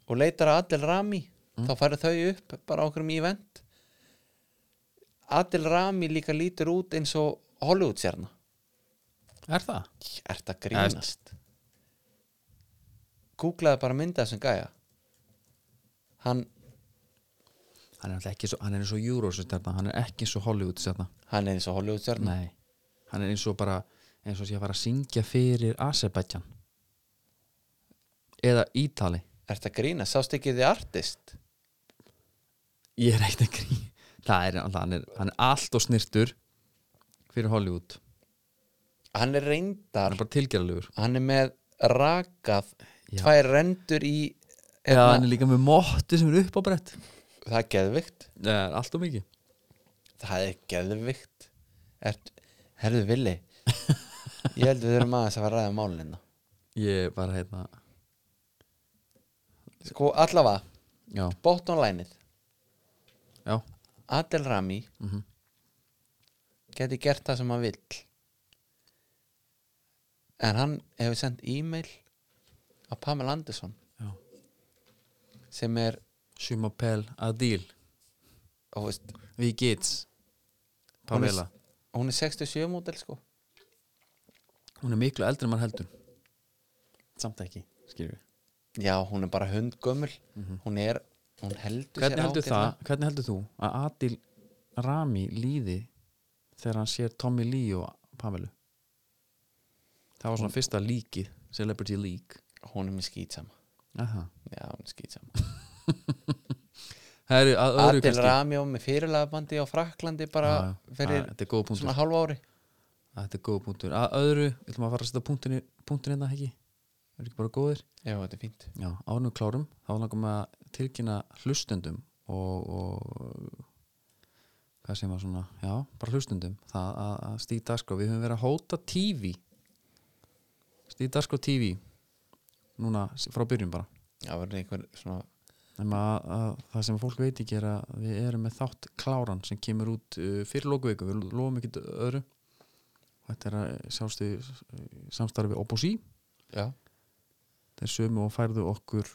B: og leitar að Adel Rami þá færa þau upp bara okkur um event Adel Rami líka lítur út eins og Hollywood sérna
A: er það?
B: Er þetta grínast? Googlaði bara mynda þessum gæja Hann,
A: Hann er alltaf ekki svo, hann er eins og Eurosusterna hann er ekki svo Hollywood setna
B: hann er eins og Hollywood stjörn
A: Nei, hann er eins og bara eins og sé að fara að syngja fyrir Azerbaijan eða Ítali
B: Er þetta grínast? Sást ekki þið artist?
A: Ég er ekkert að grí Það er alltaf, hann er, hann er allt og snirtur fyrir Hollywood
B: Hann er
A: hann
B: reyndar
A: er bara tilgerðalegur
B: Hann er með rakað
A: Já.
B: Tvær rendur í hérna,
A: Já, hann er líka með móttu sem er upp á brett
B: Það er geðvikt
A: Það er allt og mikið
B: Það er geðvikt er, Herðu villi Ég held við þurfum aðeins að fara að ræða hérna. málinna
A: Ég bara hérna
B: Sko allavega,
A: Já,
B: bottom line-ið
A: já,
B: Adel Rami
A: Mhm.
B: geti gert það sem hann vill en hann hefur sendt e-mail á Pamela Anderson
A: já
B: sem er
A: Sumapel Adil
B: þú veist,
A: Við gits
B: hún er,
A: Pamela
B: hún er 67 mótel sko
A: Hún er miklu eldri en maður heldur Samt ekki, skilur við
B: já, hún er bara hundgömmul hún er, hún heldur
A: Hvernig heldur,
B: ágætlega.
A: það, hvernig heldur þú að Adil Rami líði þegar hann sér Tommy Lee og Pamelu Það var svona fyrsta líkið Celebrity League
B: hún er með skýtsama
A: Aha.
B: já, hún er skýtsama
A: Herri, að öðru
B: Adel Rami og með fyrirlagabandi á Fraklandi
A: Já,
B: bara
A: já.
B: fyrir
A: Að- Þetta er góð punktur
B: svona hálfa ári
A: Þetta er góð punktur Að öðru, við ætlum að fara að setja punktin punktin hérna ekki Er ekki bara góðir
B: já, þetta er fínt
A: Já, ánum klárum Þá langum við að tilkynna hlustundum og, og hvað sem var svona Já, bara hlustundum Það að, að Stíð Dasko Við höfum verið að hóta TV Stíð Dasko TV Núna s- frá byrjun bara
B: já, verður einhver svona
A: Nefna að, að það sem fólk veit ekki er að við erum með þátt kláran sem kemur út uh, fyrir lokuviku, við lofum ekki öðru Þetta er að sjálfstu samstarfi Opposí
B: já,
A: þeir sömu og færðu okkur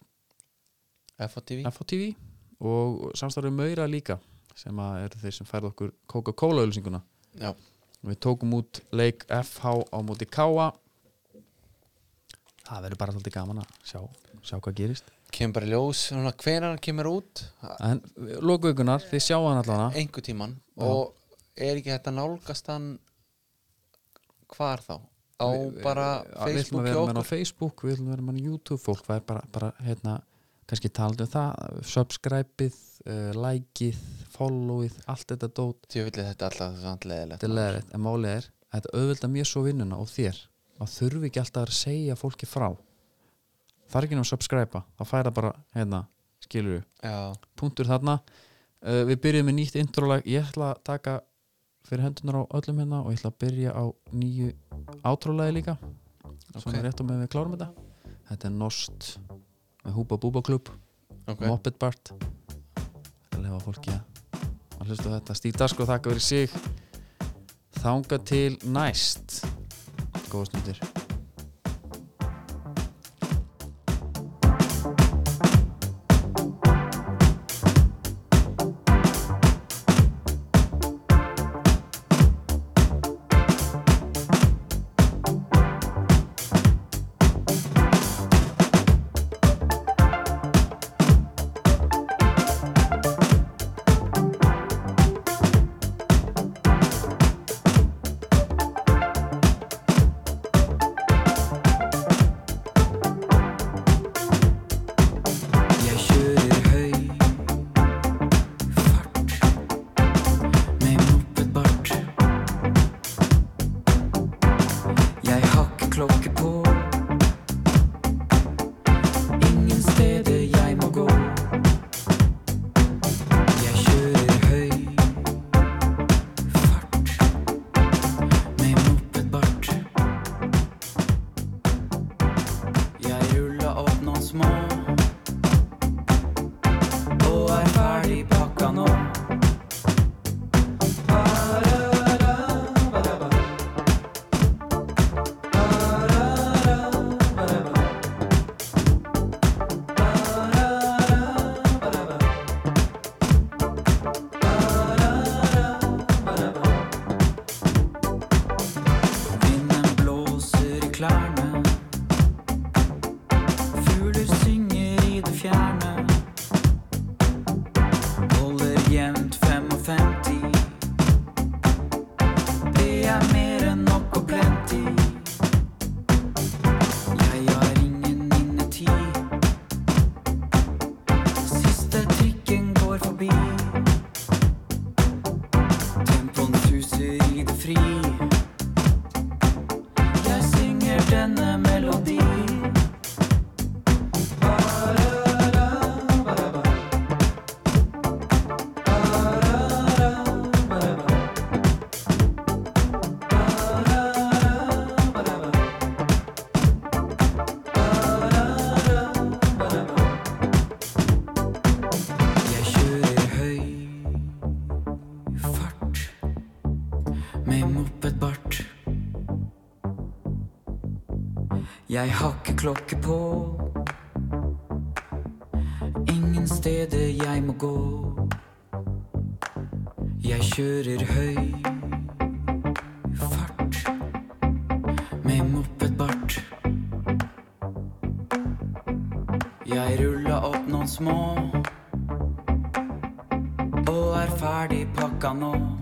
B: FOTV
A: FOTV og samstarfi Möyra líka sem að eru þeir sem færðu okkur Coca-Cola ölsinguna
B: já,
A: Við tókum út leik FH á móti Káa Það verður bara alltaf gaman að sjá, sjá hvað gerist
B: kemur bara í ljós svona, hvenær hann kemur út
A: En lokuðugunar, þið sjá hann allan
B: einhver tíman
A: Já.
B: og er ekki þetta nálgast hann hvar þá á bara
A: Við ætlum að vera með hann
B: Facebook hjá okkur
A: á Facebook, við ætlum að vera með hann á YouTube fólk, það er bara, bara hérna kannski talandi um það, subscribe-ið uh, like-ið, follow-ið allt þetta dót
B: ég vil þetta alltaf samt leðilegt
A: Þetta er leðrætt, en málið er að þetta auðvelda mér svo vinnuna og þér að þurfi ekki alltaf að segja fólki frá það er ekki náttúrulega að subscribe þá færa bara, hérna, skilur við
B: já,
A: punktur þarna, uh, við byrjum með nýtt introlag, ég ætla að taka fyrir hendunar á öllum hérna og ég ætla að byrja á nýju átrólagi líka svona
B: Ok.
A: rétt og með við klárum þetta þetta er Nost með Húba Búba Klub
B: ok,
A: Moped Bart að lefa fólki að að hlusta á þetta Stíl Dasko þakka fyrir sig þanga til næst góða stundir
C: små Og er ferdig pakka nå Vinden blåser i klærne Fugler synger i det fjerne Holder jevnt 55 Det er mer enn nok og plenty Jeg har ingen innetid Siste trikken går forbi Tempoen suser i det fri Jeg synger denne melodien Jeg kjører høy fart med mopedbart. Jeg har ikke klokke på. Ingen steder jeg må gå. Jeg kjører høy fart med mopedbart. Jeg rulla opp noen små og er ferdig pakka nå.